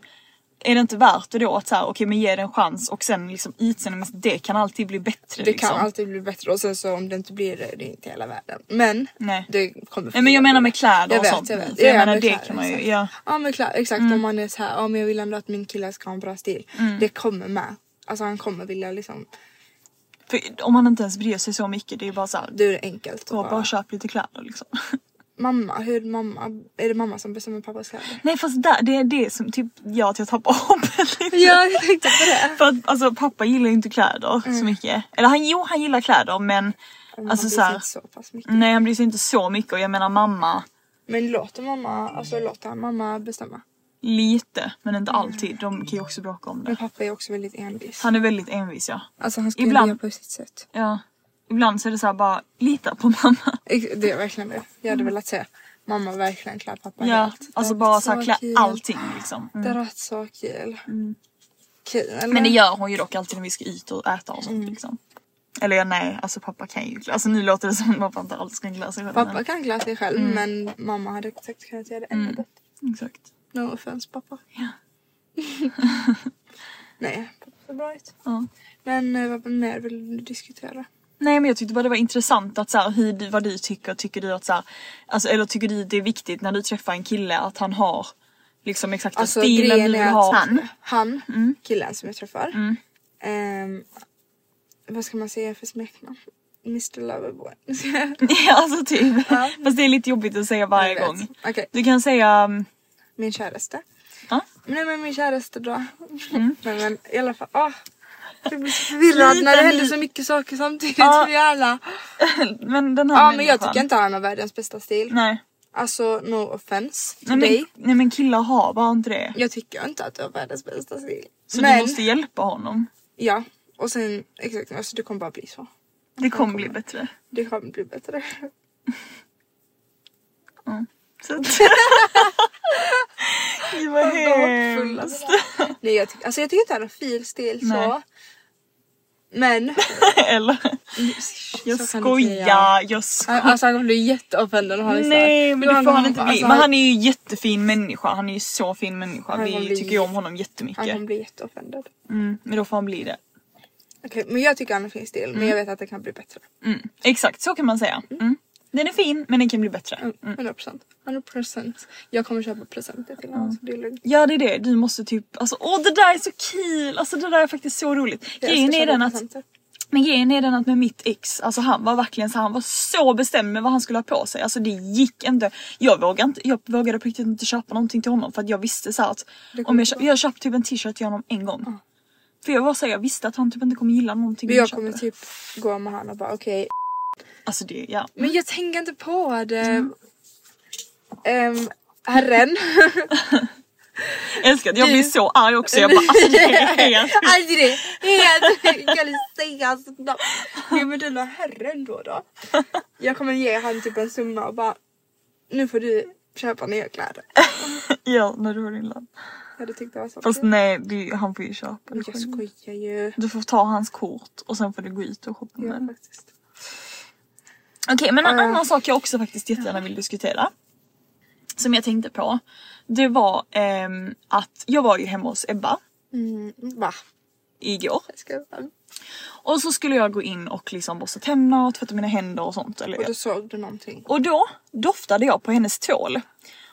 S2: Är det inte värt det då att så här, okej men ge den en chans och sen liksom utseendemässigt, det kan alltid bli bättre.
S1: det
S2: liksom.
S1: kan alltid bli bättre och sen så om det inte blir det, det är inte hela världen. Men
S2: Nej.
S1: det kommer
S2: Nej men jag menar med kläder
S1: Jag
S2: och
S1: vet,
S2: sånt.
S1: jag vet.
S2: För jag
S1: Ja,
S2: menar
S1: med
S2: det
S1: kläder,
S2: kan man ju,
S1: exakt.
S2: ja. Mm.
S1: Ja men klart, exakt om man är så här, ja men jag vill ändå att min kille ska ha en bra stil. Det kommer med. Alltså han kommer vilja liksom,
S2: För om man inte ens bryr sig så mycket, det är ju bara så här,
S1: då är det enkelt. att
S2: så bara köp lite kläder liksom. [laughs]
S1: Mamma, hur mamma, är det mamma som bestämmer pappas
S2: [laughs]
S1: kläder?
S2: Nej fast där, det är det som typ gör att jag tappar hoppet lite.
S1: Ja, jag tänkte på det.
S2: [laughs] För att alltså pappa gillar ju inte kläder så mycket. Eller han, jo han gillar kläder men alltså
S1: Man
S2: så
S1: Mm. bryr sig
S2: här,
S1: inte så pass mycket.
S2: Nej han bryr sig inte så mycket och jag menar mamma
S1: Men låter mamma, alltså låter han mamma bestämma?
S2: lite men inte
S1: Mm.
S2: alltid. De kan ju också bråka om
S1: Men
S2: det.
S1: pappa är också väldigt envis.
S2: Han är väldigt envis ja.
S1: Alltså han ska
S2: Ibland-
S1: Ibland. göra på sitt sätt.
S2: ja. Ibland så är det så här bara lita på mamma.
S1: Ex- Det är verkligen det. Jag hade velat se mamma verkligen klä pappa
S2: Ja,
S1: helt.
S2: alltså
S1: Det
S2: bara
S1: varit
S2: så här, klä
S1: kul.
S2: allting liksom.
S1: Det
S2: Mm.
S1: har varit så kul. Kul eller?
S2: Men det gör hon ju dock alltid när vi ska ut och äta och
S1: Mm.
S2: sånt liksom. Eller ja, nej, alltså pappa kan ju klä Alltså nu låter det som att pappa inte alls kan klä sig själv. men-
S1: Pappa kan klä sig
S2: Mm.
S1: själv men mamma hade säkert kunnat göra det ännu bättre.
S2: Exakt.
S1: No offense pappa.
S2: Mm. Ja.
S1: [laughs] Nej, pappa ser bra ut.
S2: Ja.
S1: Men eh, vad mer vill du diskutera?
S2: Nej men jag tyckte bara det var intressant att så här, hur du, vad du tycker. Tycker du att så här, alltså, eller tycker du det är viktigt när du träffar en kille att han har liksom exakta
S1: Alltså
S2: stilen du
S1: grejen
S2: vill
S1: är
S2: ha? Mm.
S1: att han, han killen som jag träffar. ehm, vad ska man säga för smeknamn? Mr Loverboy.
S2: [laughs]
S1: [laughs]
S2: [laughs] Ja, alltså typ. Fast det är lite jobbigt att säga varje
S1: Jag vet.
S2: gång.
S1: Okej.
S2: Du kan säga... mm,
S1: min käraste.
S2: Ja. Mm.
S1: Nej men min käraste då. Nej men i alla fall. ah. Jag blir så förvirrad när det
S2: Liten
S1: händer
S2: ny-
S1: så mycket saker samtidigt.
S2: Ja.
S1: för alla.
S2: Men den här
S1: Ja men jag
S2: människan.
S1: tycker inte han har världens bästa stil.
S2: Nej.
S1: Alltså no offense till
S2: Nej men,
S1: dig.
S2: nej men killar har bara inte det.
S1: Jag tycker inte att du har världens bästa stil.
S2: Så
S1: men
S2: du måste hjälpa honom.
S1: ja. Och sen exakt, alltså det kommer bara bli så.
S2: Det kommer bli bättre.
S1: Det kommer bli
S2: [laughs]
S1: bättre.
S2: Så
S1: [laughs]
S2: att... [laughs] Gud vad hemskt.
S1: Nej jag, tyck, alltså jag tycker inte han har fin stil så.
S2: Nej.
S1: Men.
S2: Eller?
S1: så kan
S2: Jag
S1: du säga.
S2: skojar, jag
S1: Han-
S2: skojar.
S1: Alltså han kommer bli jätteoffended om han är så här.
S2: Nej men det
S1: Jo,
S2: får han inte bli.
S1: alltså,
S2: men han är ju jättefin människa. Han är ju så fin människa.
S1: Han
S2: Vi
S1: kommer bli
S2: tycker ju om
S1: Han
S2: honom
S1: kommer
S2: jättemycket.
S1: bli jätteoffended.
S2: Mm, men då får han bli det.
S1: Okej men jag tycker han har fin stil men jag vet att det kan bli bättre.
S2: Mm. Exakt så kan man säga. Mm. Den är fin men den kan bli bättre.
S1: Mm, 100%. 100%. Jag kommer köpa presenter till honom så det är lugnt.
S2: Ja det är det. Du måste typ, alltså åh det där är så kul! Alltså det där är faktiskt så roligt.
S1: Jag
S2: Grejen
S1: älskar
S2: är den
S1: köpa
S2: att
S1: presenter.
S2: Men grejen är den att med mitt ex, alltså han var verkligen så han var så bestämd med vad han skulle ha på sig. Alltså det gick inte. Jag vågade, inte, jag vågade på riktigt inte köpa någonting till honom för att jag visste så här att om jag, köp, jag köpte typ en t-shirt till honom en gång. För jag var så här, jag visste att han typ inte kommer gilla någonting
S1: Men jag kommer
S2: köpte.
S1: typ gå med han och bara okej.
S2: Alltså det, ja.
S1: Men jag tänker inte på det. Ehm, herren.
S2: Jag älskar att jag blir så arg också. Jag bara alltså det är helt...
S1: [laughs] Alltså det är [laughs] helt... Jag kan inte säga hans namn. Nej men den där herren då då. Jag kommer ge han typ en summa och bara nu får du köpa nya kläder.
S2: Ja när du har din lön.
S1: Jag hade tyckt det var så
S2: Fast
S1: kul.
S2: nej du, han får ju köpa det
S1: Jag
S2: själv.
S1: skojar ju.
S2: Du får ta hans kort och sen får du gå ut och shoppa
S1: Ja,
S2: med det.
S1: faktiskt.
S2: Okej men en annan sak jag också faktiskt jättegärna vill diskutera. Som jag tänkte på. Det var ehm, att jag var ju hemma hos Ebba
S1: Va?
S2: igår.
S1: Jag ska... Och
S2: Och så skulle jag gå in och liksom borsta tänderna och tvätta mina händer och sånt. Eller,
S1: då såg du någonting.
S2: och då doftade jag på hennes tvål.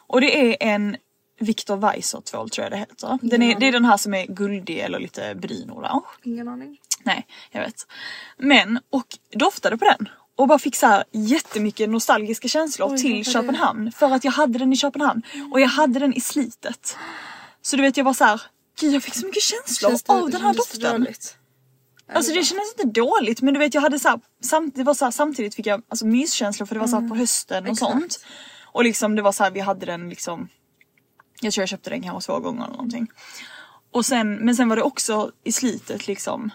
S2: Och det är en Victor Weiser tvål tror jag det heter. Den är, det är den här som är guldig eller lite brun-orange.
S1: Ingen aning.
S2: Nej, jag vet. Men, och doftade på den. Och bara fick så här jättemycket nostalgiska känslor till Köpenhamn. För att jag hade den i Köpenhamn. Och jag hade den i slitet. Så du vet jag var så här, gud jag fick så mycket känslor av den här
S1: känns det
S2: doften.
S1: dåligt?
S2: Alltså det kändes inte dåligt men du vet jag hade så här, samt, det var så här, samtidigt fick jag alltså, myskänslor för det var så här
S1: Mm.
S2: på hösten och sånt. Och liksom det var så här, vi hade den liksom, jag tror jag köpte den kanske två gånger eller någonting. Och sen, men sen var det också i slitet liksom.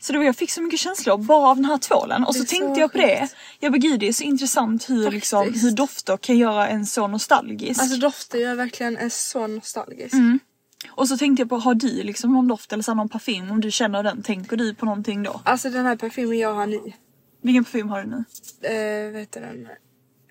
S2: Så då jag fick så mycket känslor bara av den här tvålen. Och så
S1: Mm. Det är
S2: tänkte
S1: så
S2: jag på det.
S1: sjukt.
S2: Jag bara gud det är så intressant hur, liksom,
S1: Faktiskt.
S2: hur dofter kan göra en så nostalgisk.
S1: Alltså dofter jag verkligen är så nostalgisk.
S2: och så tänkte jag på har du liksom någon doft eller så här, någon parfym om du känner den tänker du på någonting då?
S1: Alltså den här parfymen jag har nu.
S2: Vilken parfym har du nu?
S1: Eh, vad heter den?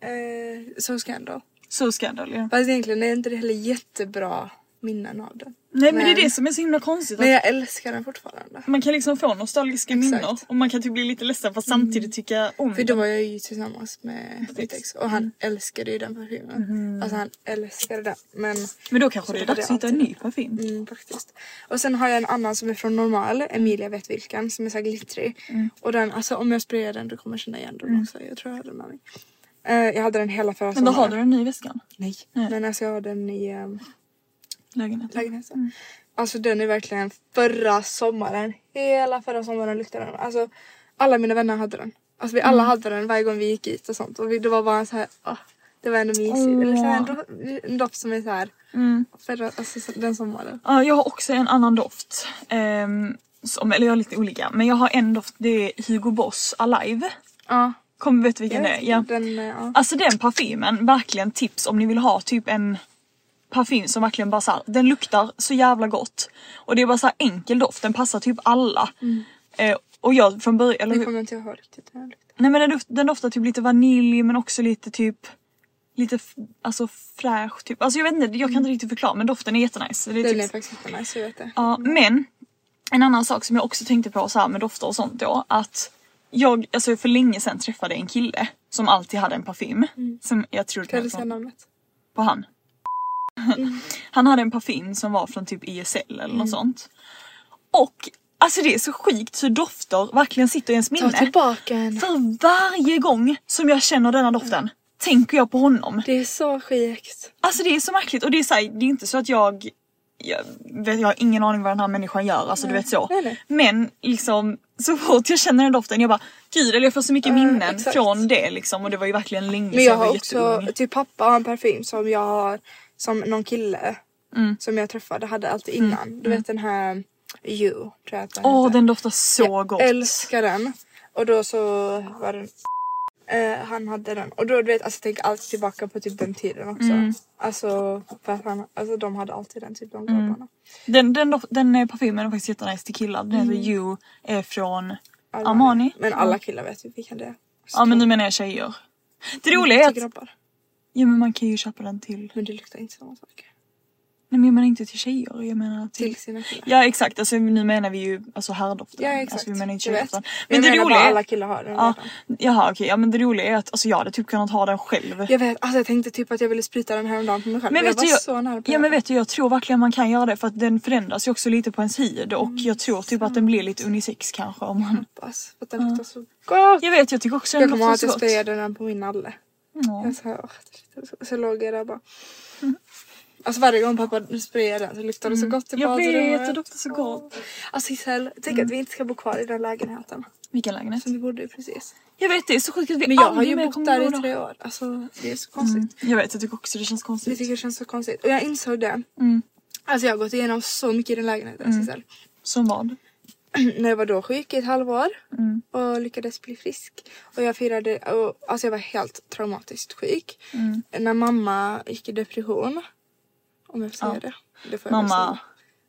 S1: Eh, so Scandal.
S2: So Scandal ja.
S1: Fast egentligen är inte det heller jättebra minnen av den.
S2: Nej men, det
S1: Men-
S2: är det som är så himla konstigt.
S1: Men
S2: Att
S1: jag älskar den fortfarande.
S2: man kan liksom få nostalgiska
S1: Exakt. Mm.
S2: minnen och man kan typ bli lite ledsen fast samtidigt tycka om
S1: För
S2: det.
S1: då var jag ju tillsammans med mitt ex och
S2: Mm.
S1: han älskade ju den parfymen. Alltså han älskade den. Men
S2: Mm-hmm. Men då kanske
S1: Så
S2: det är
S1: var
S2: dags att
S1: det
S2: hitta en ny parfym.
S1: Mm, faktiskt. Och sen har jag en annan som är från normal, Emilia vet vilken, som är så här glittrig.
S2: Mm.
S1: Och den, alltså om jag sprayar den då kommer jag känna igen den också. Jag tror jag hade den med mig. Eh, jag hade den hela förra
S2: Men då har
S1: sommaren.
S2: du den i väskan?
S1: Nej. Men alltså jag har den i ehm,
S2: Lägenheten?
S1: lägenheten. Alltså den är verkligen förra sommaren. Hela förra sommaren luktade den. Alltså alla mina vänner hade den. Alltså vi alla
S2: Mm.
S1: hade den varje gång vi gick ut och sånt. Och vi, det var bara så här, åh, det var ändå mysigt. Eller så här, en, do- en doft som är så här.
S2: Mm.
S1: Förra, alltså så- den sommaren.
S2: Ja, jag har också en annan doft. Ehm, som, eller jag har lite olika. Men jag har en doft, det är Hugo Boss Alive.
S1: Ja.
S2: Kommer vet du vilken det
S1: Jag
S2: är?
S1: vet
S2: Ja.
S1: inte, Den, eh, ja.
S2: Alltså den parfymen, verkligen tips om ni vill ha typ en parfym som verkligen bara såhär, den luktar så jävla gott. Och det är bara såhär enkel doft, den passar typ alla. Eh, och jag från början, eller
S1: Nu
S2: hur?
S1: kommer Mm. jag inte ihåg riktigt hur den luktar.
S2: Nej men den, doft, den doftar typ lite vanilj men också lite typ Lite f- alltså fräsch typ. Alltså jag vet inte, jag kan inte riktigt förklara men doften är jättenice. Det
S1: Den
S2: är typ
S1: Mm. är Mm. faktiskt jättenice, jag vet det.
S2: Ja, men en annan sak som jag också tänkte på så här med dofter och sånt då att jag alltså för länge sedan träffade en kille som alltid hade en parfym som jag tror
S1: Mm. Kan
S2: kan
S1: du säga namnet?
S2: på han.
S1: Mm.
S2: han hade en parfym som var från typ ISL eller något sånt. Och alltså det är så sjukt hur dofter verkligen sitter i ens minne.
S1: Ta tillbaka en.
S2: För varje gång som jag känner denna doften tänker jag på honom.
S1: Det är så sjukt.
S2: Alltså det är så märkligt och det är, så här, det är inte så att jag jag, vet, jag har ingen aning vad den här människan gör, alltså du vet så.
S1: Nej, nej.
S2: Men liksom så fort jag känner den doften jag bara gud eller jag får så mycket minnen
S1: exakt.
S2: från det liksom och det var ju verkligen länge
S1: Men
S2: sedan
S1: jag
S2: jag var
S1: har också,
S2: jätteung.
S1: typ pappa har en parfym som jag har, som någon kille
S2: Mm.
S1: som jag träffade hade alltid innan. Du vet den här You tror jag att den
S2: Åh
S1: heter.
S2: den doftar så
S1: jag
S2: gott.
S1: älskar den. Och då så var den eh, han hade den och då du vet alltså jag tänker alltid tillbaka på typ den tiden också.
S2: Mm.
S1: Alltså för att han, alltså de hade alltid den typ de grabbarna.
S2: Den, den, dof- den eh, parfymen är faktiskt jättenice till killar. Den
S1: Mm.
S2: heter You är från
S1: Alla-
S2: Armani.
S1: Men alla killar vet ju vilka det är.
S2: Ja men nu menar jag tjejer. Det roliga är
S1: Till
S2: att
S1: grabbar.
S2: ja, men man kan ju köpa den till,
S1: Men det luktar inte samma sak.
S2: nej men jag menar inte till tjejer, jag menar till,
S1: Till sina killar.
S2: Ja exakt, alltså, nu menar vi ju alltså herrdoften.
S1: Ja exakt.
S2: Alltså, vi menar inte
S1: Jag vet.
S2: tjejdoften.
S1: Men
S2: Men
S1: jag
S2: det
S1: menar bara
S2: roliga är...
S1: alla killar har den
S2: ja,
S1: redan.
S2: Jaha okej, ja men det roliga är att alltså, jag hade typ kunnat ha den själv.
S1: Jag vet, alltså jag tänkte typ att jag ville sprita den häromdagen på mig själv.
S2: Men
S1: jag
S2: vet,
S1: var
S2: du, jag,
S1: så nära på
S2: ja,
S1: det.
S2: men vet du, jag tror verkligen man kan göra det för att den förändras ju också lite på ens hud och
S1: Mm,
S2: jag tror typ att den blir lite unisex kanske om man...
S1: Hoppas, för att den luktar så gott.
S2: Jag vet, jag tycker också
S1: Jag
S2: den
S1: kommer ihåg
S2: luktar
S1: att
S2: så
S1: jag
S2: gott.
S1: sprayade den på min nalle.
S2: Ja. Mm.
S1: Jag så, här, åh, det luktar så, så låg jag där bara. Alltså varje gång pappa sprayade den så luktade det så gott i
S2: Jag vet, Mm. det
S1: badrummet.
S2: doftar så gott.
S1: Alltså Isel, tänk att vi inte ska bo kvar i den lägenheten.
S2: Vilken lägenhet?
S1: Som vi bodde i precis.
S2: Jag vet, det är så sjukt att vi
S1: Men jag har
S2: aldrig
S1: ju
S2: mer
S1: bott
S2: kommer
S1: där
S2: gå
S1: i
S2: då. Mm.
S1: tre år. Alltså det är så konstigt.
S2: Jag vet, jag tycker också det känns
S1: Det
S2: konstigt.
S1: tycker jag känns så konstigt. Och jag insåg det.
S2: Mm.
S1: Alltså jag har gått igenom så mycket i den lägenheten Sissel.
S2: Som vad?
S1: [clears throat] när jag var då sjuk i ett halvår
S2: Mm.
S1: och lyckades bli frisk. Och jag firade, och, alltså jag var helt traumatiskt sjuk.
S2: Mm.
S1: När mamma gick i depression. Om jag får säga det. det får jag väl
S2: Mamma-
S1: säga.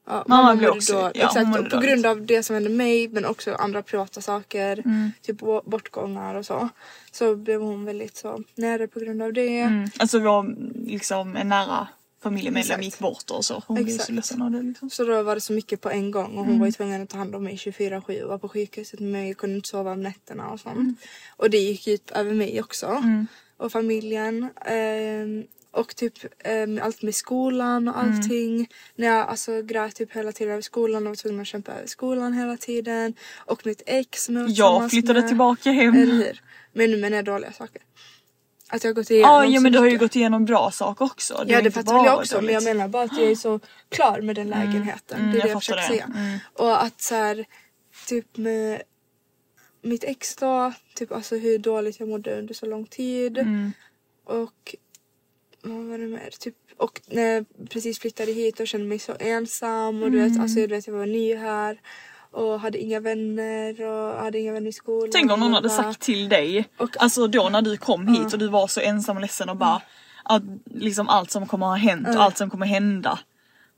S1: Ja,
S2: mamma
S1: mamma
S2: blev
S1: blev
S2: också-
S1: då,
S2: ja, hon liksom-
S1: Exakt,
S2: mådde
S1: och på
S2: dåligt.
S1: grund av det som hände mig men också andra privata saker.
S2: Mm.
S1: Typ bo- bortgångar och så. Så blev hon väldigt så nere på grund av det.
S2: Mm. Alltså vår, liksom en nära familjemedlem
S1: Exakt.
S2: gick bort och så. Hon blev
S1: Exakt.
S2: så ledsen av det liksom.
S1: Så då var det så mycket på en gång och hon
S2: Mm.
S1: var ju tvungen att ta hand om mig 24-7 och var på sjukhuset med mig och kunde inte sova om nätterna
S2: Mm.
S1: typ och sånt. Och det gick ut över mig också. Och familjen. ehm, Och typ eh, allt med skolan och
S2: Mm.
S1: allting. När jag alltså, grät typ hela tiden över skolan och var tvungen att kämpa över skolan hela tiden. Och mitt ex som jag var
S2: Jag
S1: tillsammans
S2: flyttade
S1: med.
S2: tillbaka hem.
S1: Eller hur? Men nu menar jag dåliga saker. Att jag har gått igenom
S2: Ja, ja
S1: så
S2: men du har ju
S1: mycket.
S2: gått igenom bra saker också.
S1: Ja
S2: har
S1: det
S2: inte
S1: fattar väl
S2: bara
S1: jag
S2: varit
S1: också men
S2: dåligt.
S1: jag menar bara att jag är så klar med den lägenheten.
S2: Mm,
S1: det är det
S2: jag
S1: jag, försöker
S2: fattar
S1: säga.
S2: det. Mm.
S1: Och att så här, typ med mitt ex då, typ alltså hur dåligt jag mådde under så lång tid.
S2: Mm.
S1: Och vad var det mer? Typ, och när jag precis flyttade hit och kände mig så ensam och du vet, alltså,
S2: Mm.
S1: du vet jag var ny här. Och hade inga vänner och hade inga vänner i skolan.
S2: Tänk om någon hade
S1: och bara-
S2: sagt till dig,
S1: Mm, Och- Mm.
S2: alltså då när du kom hit och du var så ensam och ledsen och bara att, liksom allt som kommer ha hänt och allt som kommer hända.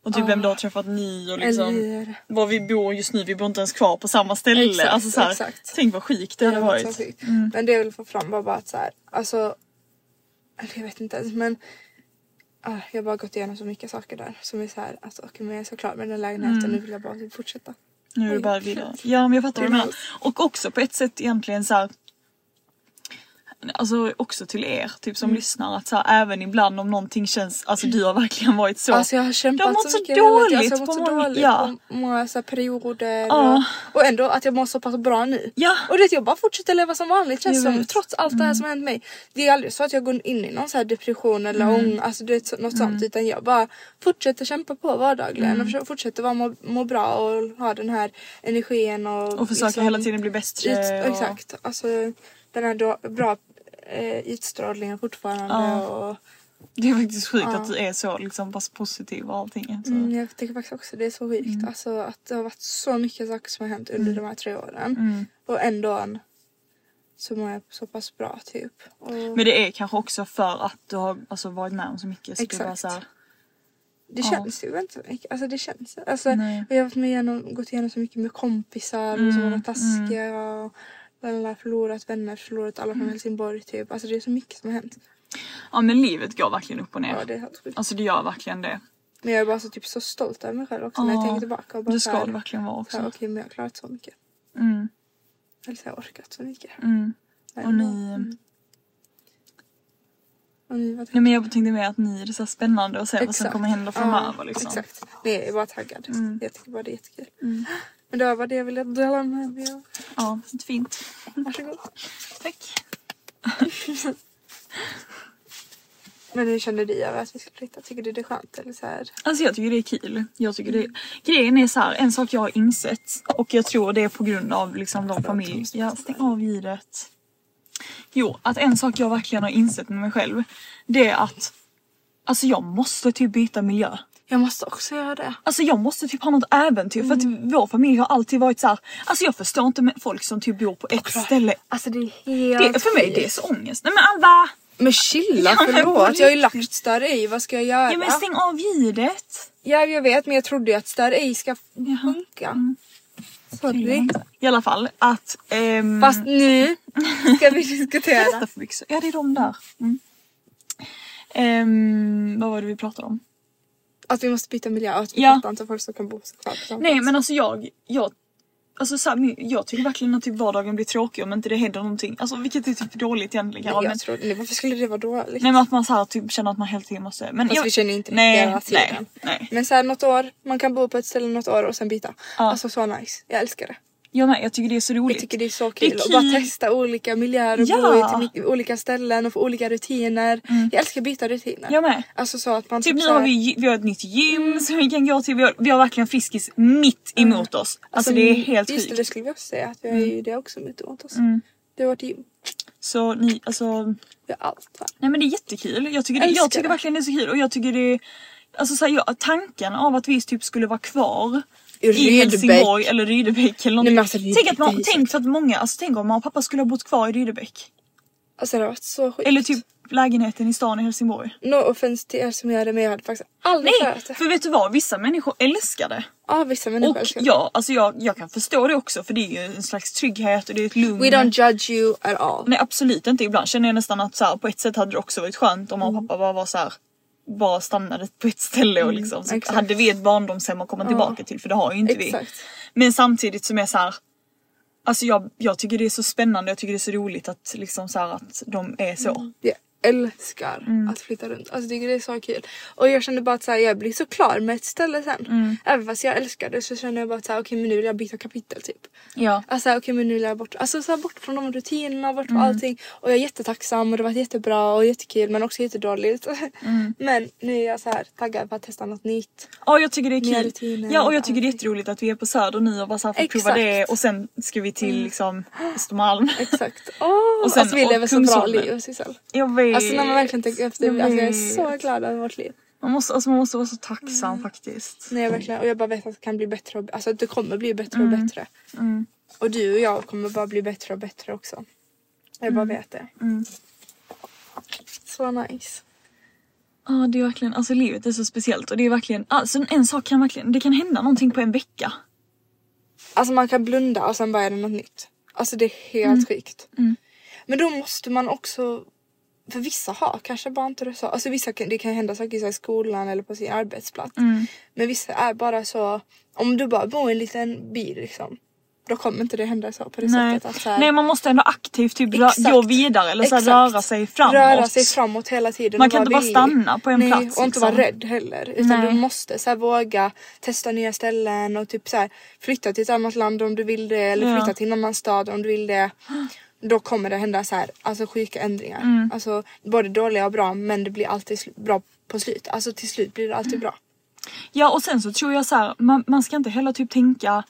S2: Och typ vem du har träffat ny och liksom
S1: Ah. Eller-
S2: var vi bor just nu, vi bor inte ens kvar på samma ställe.
S1: Exakt,
S2: alltså, så här,
S1: exakt.
S2: Tänk vad sjukt det hade
S1: Det hade varit så
S2: varit. Mm,
S1: sjukt. Men det jag ville få fram var bara att så här, alltså, eller jag vet inte ens men ah, jag har bara gått igenom så mycket saker där som är så här, alltså okej men jag är så klar med den här lägenheten nu vill jag bara typ fortsätta.
S2: Nu är det bara vidare. Ja men jag fattar vad du menar. Och också på ett sätt egentligen så här. Alltså också till er typ
S1: Mm.
S2: som lyssnar att så här, även ibland om någonting känns, alltså du har verkligen varit så.
S1: Alltså jag har kämpat
S2: Du har mått
S1: så,
S2: så
S1: mycket hela tiden.
S2: dåligt
S1: alltså, jag har mått
S2: på
S1: så
S2: många-
S1: dåligt
S2: ja.
S1: på många så här, perioder
S2: Ja.
S1: och, och ändå att jag mår så pass bra nu.
S2: Ja. Mm.
S1: Och det jag bara fortsätter leva som vanligt känns
S2: Jag
S1: som
S2: vet.
S1: trots allt det här som har hänt mig. Det är aldrig så att jag går in i någon så här depression eller
S2: Mm.
S1: ång, alltså du vet, så- något sånt utan jag bara fortsätter kämpa på vardagligen
S2: Mm.
S1: och försöker- fortsätter vara, må, må bra och ha den här energin och,
S2: Och försöka
S1: liksom-
S2: hela tiden bli bättre.
S1: Ut,
S2: och-
S1: Exakt, alltså den här då, bra eh, utstrålningen fortfarande och
S2: Det är faktiskt sjukt att du är så liksom pass positiv och allting. alltså. Så. Mm.
S1: Mm, jag tycker faktiskt också det är så sjukt. Alltså, att det har varit så mycket saker som har hänt under de här tre åren.
S2: Mm.
S1: Och ändå så mår jag så pass bra typ. Och
S2: Men det är kanske också för att du har alltså, varit med om så mycket. Så
S1: Exakt.
S2: Du bara, så här,
S1: det känns ju inte så mycket. Alltså det känns. Alltså,
S2: Nej. Mm,
S1: och jag har varit med igenom, gått igenom så mycket med kompisar och som har varit taskiga. Och, Lalala, förlorat vänner, förlorat alla
S2: Mm.
S1: från Helsingborg typ. Alltså det är så mycket som har hänt.
S2: ja men livet går verkligen upp och ner.
S1: Ja, det är helt sjukt.
S2: Alltså det gör verkligen det.
S1: Men jag är bara så, typ, så stolt över mig själv också när
S2: Ja,
S1: jag tänker tillbaka. Och bara
S2: det
S1: så
S2: ska
S1: här-
S2: det verkligen vara också.
S1: så här, Okej men jag har klarat så mycket.
S2: Mm.
S1: Eller så har jag orkat så mycket.
S2: Mm.
S1: Nej,
S2: Och
S1: men-
S2: ni,
S1: och ni, vad
S2: nej, men jag tänkte mer att ni är så här spännande och se vad som
S1: Exakt.
S2: kommer hända
S1: Ja,
S2: framöver. liksom. Mm.
S1: Exakt. Nej, jag är bara taggad. Jag tycker bara det är jättekul. Men det var bara det jag ville dela med mig av.
S2: Ja, fint.
S1: Varsågod.
S2: Tack.
S1: Men hur känner du över att vi ska flytta? Tycker du det är skönt? Eller så här?
S2: Alltså jag tycker det är kul. Jag tycker det... Grejen är så här, en sak jag har insett och jag tror det är på grund av liksom de familj... Ja, stäng av ljudet. Jo, att en sak jag verkligen har insett med mig själv det är att alltså jag måste typ byta miljö.
S1: Jag måste också göra det.
S2: Alltså jag måste typ ha något äventyr för att vår familj har alltid varit så här. Alltså jag förstår inte med folk som typ bor på ett ställe.
S1: Alltså det är helt
S2: Det, för mig det är så ångest. Nej men Alva!
S1: Men chilla
S2: Ja, men på
S1: förlåt. Jag har ju
S2: riktigt.
S1: lagt stör i. Vad ska jag göra?
S2: Ja men stäng av ljudet.
S1: ja jag vet men jag trodde ju att stör i ska funka.
S2: Mm.
S1: Sorry.
S2: I alla fall att... ehm,
S1: Fast nu
S2: [laughs]
S1: ska vi diskutera.
S2: Berätta för byxor. Ja det är de där. Mm. Ehm, vad var det vi pratade om?
S1: Att vi måste byta miljö och att vi
S2: Ja.
S1: fattar inte folk som kan bo så kvar. på
S2: Nej men alltså jag, jag, alltså, så här, men jag tycker verkligen att typ vardagen blir tråkig om inte det händer någonting. Alltså vilket är typ dåligt egentligen
S1: Nej,
S2: kanske.
S1: jag
S2: men-
S1: tror, nej, varför skulle det vara Liksom. dåligt?
S2: Nej men att man så här, typ, känner att man hela tiden måste... Men
S1: Fast
S2: jag,
S1: vi känner inte
S2: nej,
S1: hela
S2: nej,
S1: tiden.
S2: nej.
S1: Men såhär något år, man kan bo på ett ställe något år och sen byta. Alltså så nice, jag älskar det.
S2: Jag med, jag tycker det är så roligt.
S1: Jag tycker det är så
S2: Det är
S1: kul, att bara
S2: kul.
S1: testa olika miljöer och
S2: Ja. Mm.
S1: bo i till olika ställen och få olika rutiner. Jag älskar att byta rutiner.
S2: Jag med.
S1: Alltså så Mm. att man
S2: Typ nu
S1: såhär-
S2: har vi, gy- vi har ett nytt gym som vi kan gå till. Vi har, vi har verkligen Friskis mitt emot oss. Alltså, det är helt
S1: Mm. Just det,
S2: sjukt. Mm.
S1: det skulle vi också säga att vi har ju det också mitt emot oss. Det har varit gym,
S2: Så ni, alltså
S1: vi har allt här.
S2: Nej men det är jättekul. Jag tycker, det,
S1: Älskar
S2: jag tycker
S1: det.
S2: verkligen det är så kul och jag tycker det Alltså så här, jag, tanken av att vi typ skulle vara kvar i,
S1: Rydebäck.
S2: Helsingborg eller Rydebäck eller någonting.
S1: men alltså, Rydebäck
S2: tänk, att
S1: är
S2: man,
S1: ju så-
S2: tänk för att många, alltså tänk om mamma och pappa skulle ha bott kvar i Rydebäck.
S1: Alltså det har varit så sjukt.
S2: Eller typ lägenheten i stan i Helsingborg.
S1: No offense till er som gör det men jag hade faktiskt aldrig
S2: Nej!
S1: klarat det.
S2: För vet du vad, vissa människor älskar det.
S1: Ja vissa människor
S2: Och
S1: älskar det.
S2: ja, alltså jag, jag kan förstå det också för det är ju en slags trygghet och det är ett lugn.
S1: We don't judge you at all.
S2: Nej absolut inte. Ibland känner jag nästan att så här, på ett sätt hade det också varit skönt om
S1: Mm.
S2: mamma och pappa bara var så här bara stannade på ett ställe och liksom så
S1: exakt.
S2: hade vi ett barndomshem att komma tillbaka till för det har ju inte
S1: Exakt.
S2: vi. Men samtidigt som jag så här Alltså jag, jag tycker det är så spännande, jag tycker det är så roligt att liksom så här, att de är så.
S1: Jag älskar
S2: Mm.
S1: att flytta runt. Alltså tycker det är så kul. Och jag känner bara att så här, jag blir så klar med ett ställe sen.
S2: Mm.
S1: Även fast jag älskar det så känner jag bara att så här, okej men nu vill jag byta kapitel typ.
S2: Ja.
S1: Alltså okej men nu vill jag bort, alltså, så här, bort från de rutinerna, bort från
S2: Mm.
S1: allting. Och jag är jättetacksam och det har varit jättebra och jättekul men också jättedåligt. [laughs]
S2: Mm.
S1: Men nu är jag så här taggad på att testa något nytt.
S2: Ja jag tycker det
S1: Nya
S2: är kul.
S1: rutiner
S2: Ja och jag
S1: och
S2: tycker det är jätteroligt att vi är på Söder nu och bara så här får prova
S1: Exakt. Mm.
S2: det och sen ska vi till liksom Östermalm. [laughs]
S1: Exakt. Åh!
S2: Och sen-
S1: alltså vi
S2: och
S1: lever så bra
S2: Kungsholmen.
S1: liv Sissel.
S2: Jag vet.
S1: Alltså när man verkligen tänker efter,
S2: Jag
S1: alltså, jag är
S2: vet.
S1: så glad över vårt liv.
S2: Man måste, alltså, man måste vara så tacksam
S1: Mm.
S2: faktiskt.
S1: Nej, jag verkligen. Och jag bara vet att det kan bli bättre och b- alltså att det kommer bli bättre
S2: Mm.
S1: och bättre. Och du och jag kommer bara bli bättre och bättre också. Jag
S2: Mm.
S1: bara vet det. Så nice.
S2: Ja det är verkligen, alltså livet är så speciellt och det är verkligen, alltså en sak kan verkligen, det kan hända någonting på en vecka.
S1: Alltså man kan blunda och sen bara är det något nytt. Alltså det är helt
S2: Mm.
S1: sjukt. Men då måste man också för vissa har kanske bara inte det så. Alltså vissa kan, det kan hända saker så här i skolan eller på sin arbetsplats.
S2: Mm.
S1: Men vissa är bara så. Om du bara bor i en liten by liksom. Då kommer inte det hända så på det
S2: Nej.
S1: sättet. Att så här,
S2: Nej man måste ändå aktivt typ rö-
S1: Exakt.
S2: gå vidare eller så här,
S1: Exakt.
S2: röra sig framåt.
S1: Röra sig framåt hela tiden.
S2: Man
S1: och
S2: kan inte
S1: vara
S2: bara
S1: villig.
S2: stanna på en
S1: Nej,
S2: plats,
S1: och inte
S2: liksom.
S1: vara rädd heller. Utan
S2: Nej.
S1: du måste så här, våga testa nya ställen och typ så här, flytta till ett annat land om du vill det eller
S2: Ja.
S1: flytta till en annan stad om du vill det. Då kommer det hända så här, alltså sjuka ändringar.
S2: Mm.
S1: Alltså både dåliga och bra men det blir alltid sl- bra på slut. Alltså till slut blir det
S2: Mm.
S1: alltid bra.
S2: Ja och sen så tror jag så här, man, man ska inte heller typ tänka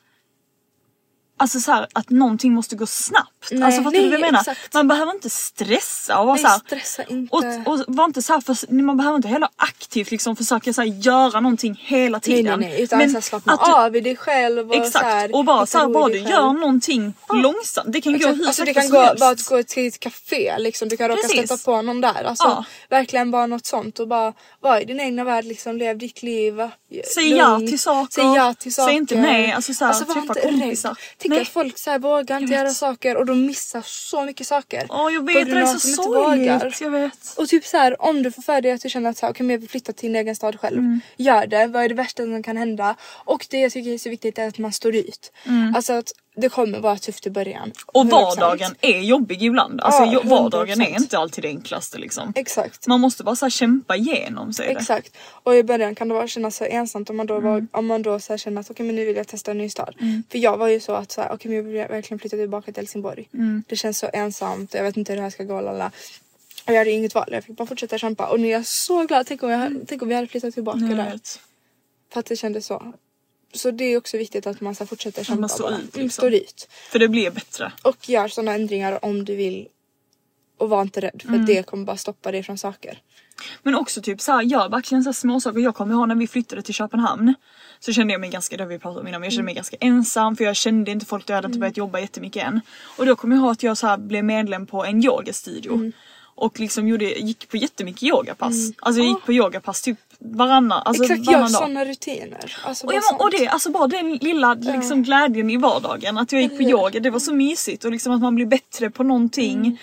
S2: Alltså så här, att någonting måste gå snabbt.
S1: Nej,
S2: alltså fattar du vad jag
S1: nej,
S2: menar?
S1: exakt.
S2: Man behöver inte stressa och vara
S1: Nej,
S2: så här,
S1: stressa inte.
S2: Och, och var inte så här för, man behöver inte heller aktivt liksom försöka så här, göra någonting hela
S1: Nej,
S2: tiden.
S1: nej, nej. Utan så här, slappna
S2: att typ- du-
S1: av i dig själv och så
S2: Exakt,
S1: här,
S2: och bara
S1: hitta
S2: så här,
S1: ro i
S2: bara
S1: dig
S2: du
S1: själv.
S2: gör någonting långsamt. Det kan gå
S1: Exakt.
S2: hur
S1: Alltså det
S2: sakta
S1: kan
S2: som
S1: gå,
S2: helst.
S1: bara att gå till ett café liksom. Du kan råka
S2: Precis.
S1: stöta på någon där. Alltså
S2: Ja.
S1: verkligen bara något sånt och bara vara i din egna värld liksom. Lev ditt liv. va?
S2: Säg ja till saker.
S1: Säg ja till
S2: Säg
S1: saker.
S2: inte nej. Alltså så här,
S1: var
S2: träffa
S1: inte rädd.
S2: kompisar.
S1: Tänk
S2: Nej.
S1: att folk så här vågar inte
S2: Jag vet.
S1: göra saker och de missar så mycket saker.
S2: Ja
S1: på
S2: jag vet, det
S1: grund
S2: är
S1: av
S2: så
S1: att de inte vågar.
S2: sorgligt. Jag vet.
S1: Och typ så här, om du får för dig att du känner att så här, okej men jag vill flytta till en egen stad själv.
S2: Mm.
S1: Gör det, vad är det värsta som kan hända? Och det jag tycker är så viktigt är att man står ut. Alltså att det kommer vara tufft i början.
S2: Mm. Och
S1: 100%.
S2: vardagen är jobbig ibland. Alltså
S1: Ja,
S2: jo- vardagen
S1: 100%.
S2: är inte alltid det enklaste liksom.
S1: Exakt.
S2: Man måste bara så här, kämpa igenom sig. det. Mm.
S1: Exakt. Och i början kan det bara kännas så ensamt om man då, var, om man då så här känner att okej men nu vill jag testa en ny stad. För jag var ju så att så här, okej men jag vill verkligen flytta tillbaka till Helsingborg.
S2: Mm.
S1: Det känns så ensamt jag vet inte hur det här ska gå lalla. Och jag hade inget val, jag fick bara fortsätta kämpa. Och nu är jag så glad, tänk om, jag, tänk om vi hade flyttat tillbaka
S2: Jag
S1: där.
S2: vet.
S1: För att det kändes så. Så det är också viktigt att man så här, fortsätter kämpa.
S2: man står
S1: bara.
S2: ut,
S1: Mm,
S2: liksom.
S1: står ut.
S2: För det blir bättre.
S1: Och gör sådana ändringar om du vill. Och var inte rädd för
S2: Mm.
S1: det kommer bara stoppa dig från saker.
S2: Men också typ såhär, gör verkligen såhär små saker. Jag kommer ihåg när vi flyttade till Köpenhamn. Så kände jag mig ganska, det har vi pratat om innan, men jag kände mig
S1: Mm.
S2: ganska ensam för jag kände inte folk, jag hade inte börjat jobba jättemycket än. Och då kommer jag ihåg att jag såhär blev medlem på en yogastudio.
S1: Mm.
S2: Och liksom gjorde, gick på jättemycket yogapass. Alltså jag gick på yogapass typ varannan, alltså
S1: Ah. Exakt, gör
S2: varannan dag.
S1: sådana rutiner. Alltså,
S2: Och,
S1: bara
S2: jag,
S1: sånt.
S2: och det, alltså bara den lilla liksom, glädjen i vardagen. Att jag gick på
S1: Eller hur? Mm.
S2: yoga, det var så mysigt och liksom att man blir bättre på någonting.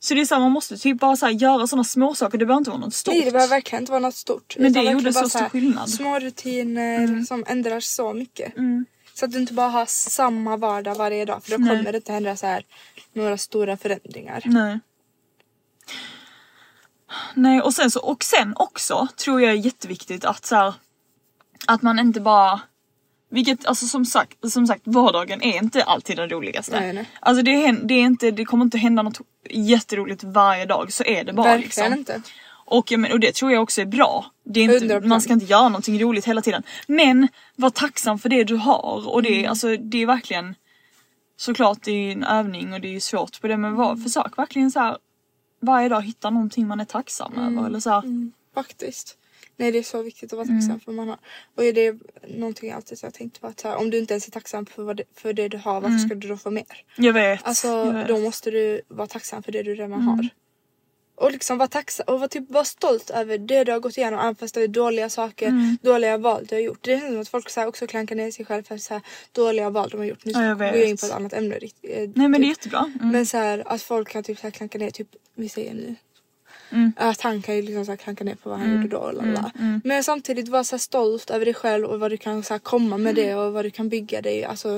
S2: Så det är såhär, man måste typ bara såhär, göra sådana små saker. det behöver inte vara något stort.
S1: Nej det behöver verkligen inte vara något stort.
S2: Men
S1: utan
S2: det gjorde
S1: verkligen
S2: så
S1: bara
S2: stor
S1: här
S2: skillnad. Mm.
S1: Små rutiner som ändrar så mycket. Så att du inte bara har samma vardag varje dag för då
S2: Nej.
S1: kommer det inte hända så här några stora förändringar.
S2: Nej. Nej och sen så, och sen också tror jag är jätteviktigt att så här, att man inte bara vilket, alltså som sagt, som sagt vardagen är inte alltid den roligaste.
S1: Nej, nej.
S2: Alltså det, hän- det, är inte, det kommer inte hända något jätteroligt varje dag, så är det bara.
S1: Verkligen
S2: liksom.
S1: inte.
S2: Och, jag men, och det tror jag också är bra. Det är inte,
S1: 100%.
S2: man ska inte göra någonting roligt hela tiden. Men var tacksam för det du har och det,
S1: Mm.
S2: alltså, det är verkligen såklart det är ju en övning och det är ju svårt på det men var, försök verkligen så här varje dag hitta någonting man är tacksam
S1: Mm.
S2: över eller så här,
S1: Faktiskt. Nej det är så viktigt att vara
S2: Mm.
S1: tacksam för vad man har. Och är det är någonting jag alltid så här tänkt på att så här, om du inte ens är tacksam för, vad det, för det du har varför
S2: Mm.
S1: ska du då få mer?
S2: Jag vet. jag
S1: Alltså
S2: vet.
S1: då måste du vara tacksam för det du redan
S2: Mm.
S1: har. Och liksom vara tacksam och vara, typ, vara stolt över det du har gått igenom även fast det är dåliga saker,
S2: Mm.
S1: dåliga val du har gjort. Det är som att folk så här, också klankar ner sig själva för så här, dåliga val de har gjort. Nu
S2: Ja, jag
S1: går jag
S2: vet.
S1: in på ett annat ämne. rikt- eh,
S2: Nej men det är
S1: typ.
S2: jättebra. Mm.
S1: Men så här, att folk kan typ så här klanka ner, typ vi säger nu.
S2: Mm.
S1: Att han kan ju liksom så här klanka ner på vad han gjorde då. och lalala. Men samtidigt vara så här stolt över dig själv och vad du kan så här komma med
S2: Mm.
S1: det och vad du kan bygga dig. Alltså,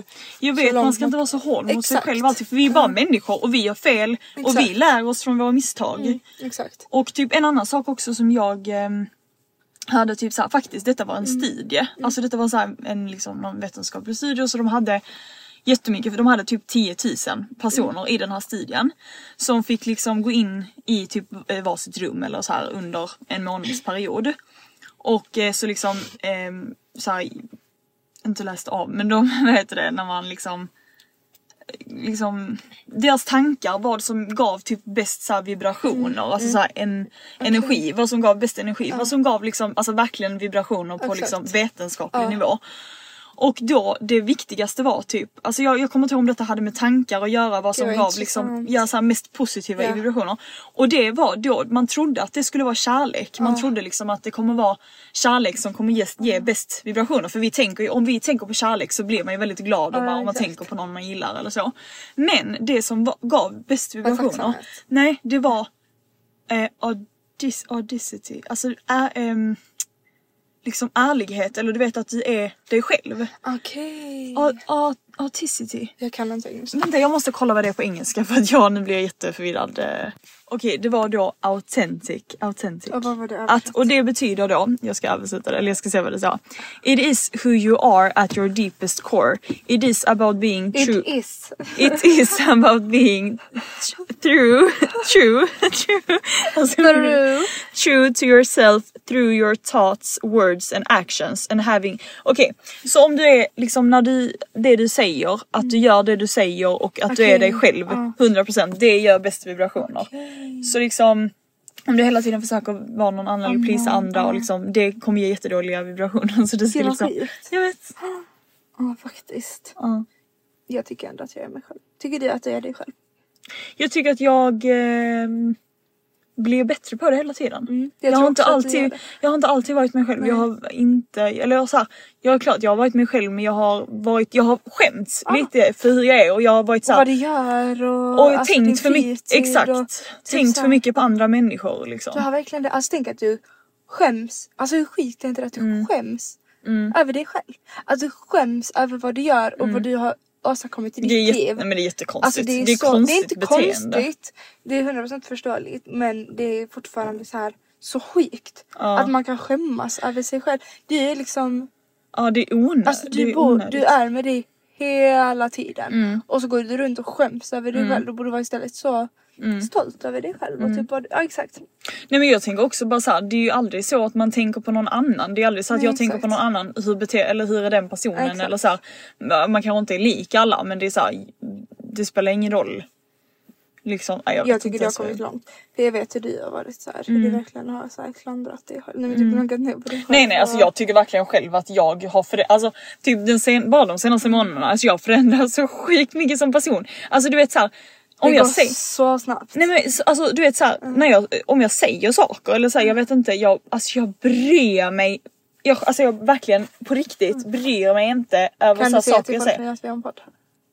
S2: Jag
S1: så
S2: vet, man
S1: långt
S2: ska inte vara så hård mot sig
S1: Exakt. Mm.
S2: själv alltid för vi är bara människor och vi gör fel och vi
S1: Exakt. Mm.
S2: lär oss från våra misstag.
S1: Exakt.
S2: Och typ en annan sak också som jag ehm, hörde typ såhär, faktiskt detta var en studie. Alltså detta var såhär en liksom någon vetenskaplig studie så de hade jättemycket, för de hade typ 10 000 personer i den här studien. Som fick liksom gå in i typ eh, varsitt rum eller så här under en månadsperiod. Och eh, så liksom ehm, så här, inte läst av men de, [laughs] vad heter det, när man liksom liksom, deras tankar, vad som gav typ bäst så här vibrationer, alltså
S1: Mm.
S2: så här en, energi, vad som gav bäst energi, vad som gav liksom, alltså verkligen vibrationer på
S1: Exakt.
S2: liksom vetenskaplig nivå. Och då det viktigaste var typ, alltså jag, jag kommer inte ihåg om detta hade med tankar att göra, vad som
S1: vad
S2: gav liksom,
S1: intressant.
S2: ja, så här mest positiva
S1: Ja.
S2: vibrationer. Och det var då, man trodde att det skulle vara kärlek, man trodde liksom att det kommer vara kärlek som kommer ge, ge bäst vibrationer. För vi tänker ju, om vi tänker på kärlek så blir man ju väldigt glad om man, om man
S1: exakt.
S2: tänker på någon man gillar eller så. Men det som var, gav bäst vibrationer,
S1: tacksamhet.
S2: nej det var eh, audis, audicity, alltså ä, ehm, liksom ärlighet eller du vet att du är dig själv.
S1: Okej.
S2: A, a, auticity.
S1: Jag kan inte engelska.
S2: Vänta jag måste kolla vad det är på engelska för att jag nu blir jag jätteförvirrad. Eh, Okej det var då authentic. authentic.
S1: Och vad var det översatt?
S2: att, och det betyder då, jag ska översätta det, eller jag ska se vad det sa. It is who you are at your deepest core. It is about being
S1: It
S2: true.
S1: is.
S2: [laughs] It is about being true, true, true, alltså,
S1: True.
S2: true to yourself through your thoughts, words and actions and having. Okej, så om du är liksom när du, det du säger, att du gör det du säger och att du är
S1: Okej,
S2: dig själv 100% det gör bäst vibrationer. Så liksom om du hela tiden försöker vara någon annan eller pleasa andra och liksom det kommer ge jättedåliga vibrationer. Så det ska
S1: Gud, vad
S2: liksom,
S1: sjukt.
S2: jag vet.
S1: Ja faktiskt.
S2: Ja.
S1: Jag tycker ändå att jag är mig själv. Tycker du att jag är dig själv?
S2: Jag tycker att jag eh, blir bättre på det hela tiden.
S1: Mm. jag
S2: jag, har
S1: tror
S2: inte
S1: också att du gör
S2: alltid,
S1: det.
S2: jag har inte alltid varit mig själv. Jag har inte, eller jag, har så här, jag är klart jag har varit mig själv men jag har varit, jag har skämts lite för hur jag är och jag har varit så
S1: Ah. Och vad
S2: här,
S1: du gör och...
S2: och
S1: alltså, din
S2: tänkt för mycket,
S1: fritid
S2: exakt.
S1: och typ
S2: tänkt
S1: så
S2: för
S1: här-
S2: mycket på andra människor liksom.
S1: Du har verkligen det. Alltså tänk att du skäms. Alltså hur sjukt är inte det att du
S2: Mm.
S1: skäms över dig själv? Att du skäms över vad du gör och vad du har åstadkommit i ditt
S2: Mm. det, är jätte, nej,
S1: liv.
S2: men det är jättekonstigt.
S1: Alltså det är, så,
S2: konstigt
S1: det är inte
S2: beteende.
S1: konstigt. Det är 100% förståeligt men det är fortfarande så här så sjukt. Att man kan skämmas över sig själv. Du är liksom,
S2: Ja det är onödigt.
S1: alltså
S2: det
S1: du,
S2: är
S1: bor,
S2: onödigt. Mm.
S1: du är med dig hela tiden. Och så går du runt och skäms över dig själv. Då borde du vara istället så
S2: Mm.
S1: stolt över dig själv. Och typ bara, ja exakt.
S2: Nej men jag tänker också bara såhär, det är ju aldrig så att man tänker på någon annan. Det är aldrig så att
S1: Nej,
S2: jag tänker på
S1: exakt.
S2: någon annan, hur, bete- eller hur är den personen?
S1: Exakt.
S2: Eller såhär, man kanske inte är lik alla men det är såhär, det spelar ingen roll. Liksom, nej, jag,
S1: Jag
S2: vet
S1: tycker
S2: inte
S1: det har
S2: ens vad jag- Mm.
S1: kommit långt. För jag vet hur du har varit så här. Hur du verkligen har så här klandrat dig själv. Nej men typ naggat ner på dig själv.
S2: Nej nej alltså
S1: och-
S2: jag tycker verkligen själv att jag har förändrats, alltså typ den sen- bara de senaste månaderna, alltså jag har förändrats så sjukt mycket som person. Alltså du vet såhär, om
S1: det
S2: jag
S1: går
S2: säger...
S1: så snabbt.
S2: Nej men så- alltså du vet såhär, när jag, om jag säger saker eller såhär, jag vet inte, jag, alltså jag bryr mig. Jag, alltså jag verkligen på riktigt bryr mig inte över
S1: Mm. kan du
S2: såhär
S1: säga
S2: saker
S1: till
S2: alltså
S1: folk
S2: jag säger.
S1: att vi har en podd?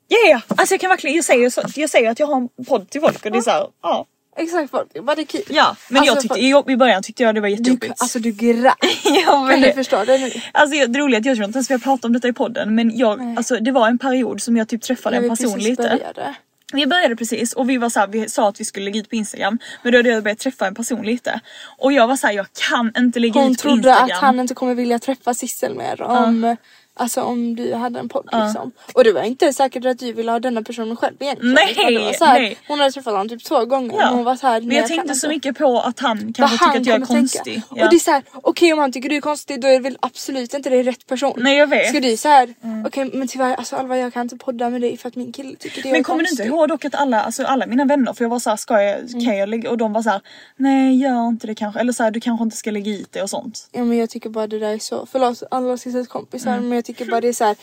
S2: Ja ja, alltså jag kan verkligen, jag säger, så, jag säger att jag har en podd till folk och det är såhär, ja.
S1: Exakt folk, vad det är kul.
S2: Ja, men
S1: Alltså,
S2: jag tyckte,
S1: folk-
S2: i, jobb- i början tyckte jag det var
S1: Du,
S2: jättejobbigt. [laughs]
S1: alltså du grät.
S2: jag
S1: Kan du
S2: vet.
S1: förstå det nu?
S2: Alltså jag- det roliga är att jag tror inte ens vi har pratat om detta i podden men jag, alltså, det var en period som jag typ träffade
S1: När
S2: en
S1: vi
S2: person
S1: precis
S2: lite.
S1: började.
S2: Vi började precis och vi var så här, vi sa att vi skulle lägga ut på Instagram men då hade jag börjat träffa en person lite och jag var så här, jag kan inte lägga
S1: Hon
S2: ut på
S1: trodde
S2: typ Instagram.
S1: att han inte kommer vilja träffa Sissel mer om, alltså, om du hade en podd liksom. Och det var inte säkert att du ville ha denna personen själv egentligen.
S2: Nej,
S1: Utan det var så här,
S2: nej.
S1: Hon hade träffat honom typ två gånger
S2: ja.
S1: och hon var så här,
S2: men
S1: nej,
S2: jag
S1: kan
S2: tänkte så
S1: inte.
S2: mycket på att han kanske
S1: vad
S2: tycker att jag är
S1: kommer tänka.
S2: konstig. Ja.
S1: Och det är såhär, okej om han tycker du är konstig då är det väl absolut inte det rätt person.
S2: Nej, jag vet. Mm.
S1: Ska du såhär, okej men tyvärr alltså Alva jag kan inte podda med dig för att min kille tycker det är
S2: men kommer du
S1: konstig.
S2: inte ihåg dock att alla, alltså alla mina vänner, för jag var så här, ska jag,
S1: Mm.
S2: kan jag lägga, och de var så här, nej gör inte det kanske, eller så här, du kanske inte ska lägga ut det och sånt.
S1: Ja men jag tycker bara det där är så, förlåt alla Sissels kompisar
S2: Mm.
S1: men jag tycker bara det är såhär,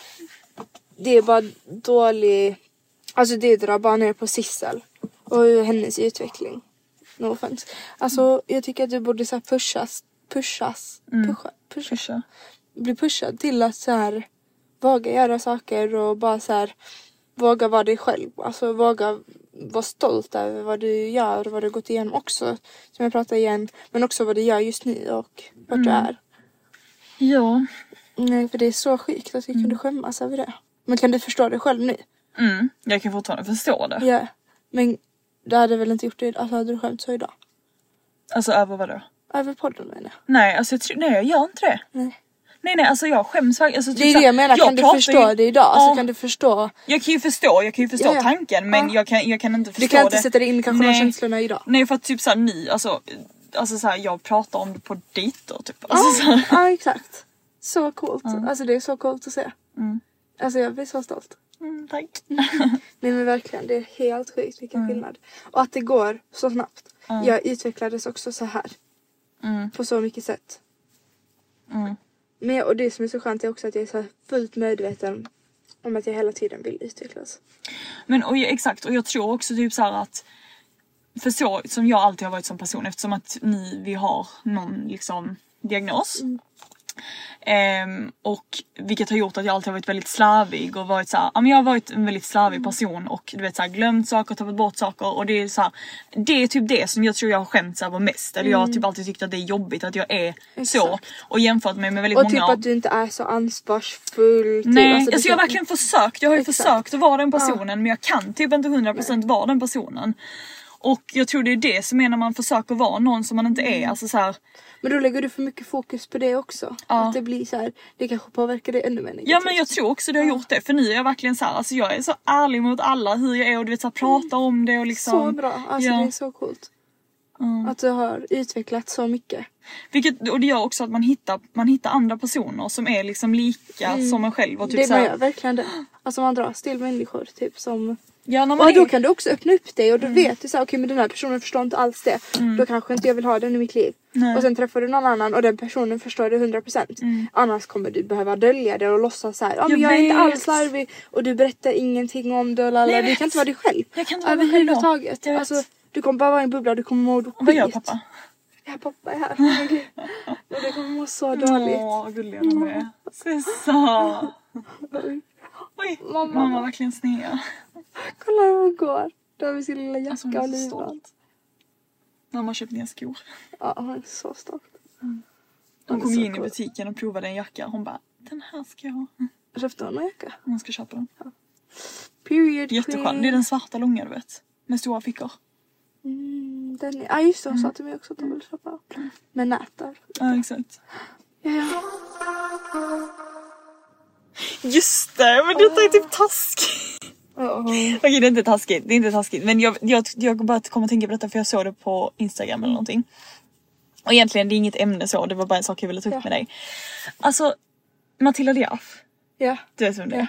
S1: det är bara dålig, alltså det drar bara ner på Sissel och hennes utveckling. No offense. Alltså jag tycker att du borde så här pushas, pushas,
S2: Mm.
S1: pusha, pusha.
S2: Pusha.
S1: bli pushad till att så här våga göra saker och bara så här våga vara dig själv. Alltså våga vara stolt över vad du gör och vad du har gått igenom också. Som jag pratar igen, men också vad du gör just nu och vart du är.
S2: Ja.
S1: Mm. Nej, för det är så sjukt att vi kunde skämmas över det. Men kan du förstå det själv nu?
S2: Mm, jag kan fortfarande förstå det.
S1: Ja. Men du hade väl inte gjort det idag? Alltså hade du skämt så idag?
S2: Alltså över vadå?
S1: Över podden menar jag.
S2: Nej, alltså jag, tror- nej, jag gör inte det.
S1: Nej.
S2: Nej nej alltså jag skäms faktiskt. Alltså, typ
S1: Det är det
S2: så här,
S1: jag menar, kan du
S2: pratar
S1: förstå
S2: ju-
S1: det idag?
S2: Ja,
S1: Alltså kan du förstå?
S2: Jag kan ju förstå, jag kan ju förstå
S1: Ja, ja.
S2: tanken men
S1: Ja.
S2: jag, kan, jag kan inte förstå
S1: Du kan inte
S2: det.
S1: sätta dig in i kanske de
S2: Nej.
S1: känslorna idag.
S2: Nej för att typ såhär ni, alltså, alltså såhär jag pratar om det på dejter typ. Alltså, så
S1: Ja,
S2: här.
S1: ja exakt. Så coolt. Alltså det är så coolt att se. Alltså jag blir så stolt.
S2: Mm, tack.
S1: Nej men verkligen, det är helt sjukt vilken
S2: Mm.
S1: skillnad. Och att det går så snabbt. Jag utvecklades också så här.
S2: Mm.
S1: På så mycket sätt. Men jag, och det som är så skönt är också att jag är så här fullt medveten om att jag hela tiden vill utvecklas.
S2: Men och, jag- exakt och jag tror också typ så här att för så som jag alltid har varit som person eftersom att ni, vi har någon liksom diagnos. Ehm, och vilket har gjort att jag alltid har varit väldigt slarvig och varit så här, ja men jag har varit en väldigt slarvig
S1: Mm.
S2: person och du vet så här, glömt saker, tagit bort saker och det är så här, det är typ det som jag tror jag har skämts över mest eller jag har
S1: Mm.
S2: typ alltid tyckt att det är jobbigt att jag är så och jämfört mig med väldigt
S1: Och
S2: många
S1: typ
S2: av-
S1: att du inte är så ansvarsfull. Typ.
S2: Nej,
S1: Alltså, det
S2: alltså, jag har
S1: känns-
S2: verkligen försökt. Jag har ju
S1: Exakt.
S2: försökt att vara den personen men jag kan typ inte 100% vara den personen. Och jag tror det är det som är när man försöker vara någon som man inte
S1: Mm.
S2: är. Alltså så här,
S1: Men då lägger du för mycket fokus på det också. Att det blir så här, det kanske påverkar dig ännu mer negativt.
S2: ja men jag tror också det har gjort det för nu är jag verkligen så här, alltså jag är så ärlig mot alla hur jag är och du vet så här, pratar om det och liksom.
S1: Mm. Så bra, alltså
S2: ja.
S1: det är så coolt. Att du har utvecklat så mycket.
S2: Vilket, och det gör också att man hittar, man hittar andra personer som är liksom lika som en själv. Och typ
S1: Mm. det
S2: så
S1: man
S2: här,
S1: gör verkligen det. Alltså man dras till människor typ som...
S2: ja, Mm. när man
S1: Och
S2: är,
S1: då kan du också öppna upp dig och då vet du så här, okej men den här personen förstår inte alls det.
S2: Mm.
S1: Då kanske inte jag vill ha den i mitt liv. Och sen träffar du någon annan och den personen förstår det 100%. Annars kommer du behöva dölja det och låtsas så här, ja men jag,
S2: Mm. Jag
S1: är inte
S2: vet.
S1: alls slarvig och du berättar ingenting om det och lalla.
S2: Nej, jag
S1: Du
S2: vet.
S1: kan inte vara dig själv.
S2: Jag kan inte vara mig själv då.
S1: Överhuvudtaget.
S2: Jag vet.
S1: Alltså du kommer bara vara i en bubbla och du kommer må skit.
S2: vad gör pappa?
S1: Ja pappa är här. Men gud. Och du kommer må så dåligt.
S2: Åh vad gulliga de är. Se så. Oj, mamma, mamma verkligen snea.
S1: Kolla hur hon går. Då har vi sin lilla
S2: Alltså
S1: jacka
S2: hon
S1: och
S2: är så
S1: linan.
S2: stolt. Mamma har köpt nya skor.
S1: Ja, hon är så stolt.
S2: Mm. Hon
S1: är
S2: kom
S1: så
S2: ju in i
S1: cool.
S2: butiken och provade en jacka. Hon bara, den här ska jag ha.
S1: Köpte hon en jacka?
S2: Hon ska köpa den.
S1: Period
S2: Jätteskön. Det är den svarta långa du vet. Med stora fickor.
S1: Mm, den är... Ja just det, hon sa till mig också att
S2: Mm.
S1: hon ville köpa. Med nätar.
S2: Ja exakt.
S1: Ja, ja.
S2: Just det, men detta är typ taskigt. Okej det är inte taskigt, det är inte taskigt. Men jag, jag, jag bara kom att tänka på detta för jag såg det på Instagram
S1: Mm.
S2: eller någonting. Och egentligen det är inget ämne så, det var bara en sak jag ville ta upp
S1: Ja.
S2: med dig. Alltså Matilda Diaf.
S1: ja.
S2: Du vet vem det
S1: Ja.
S2: är?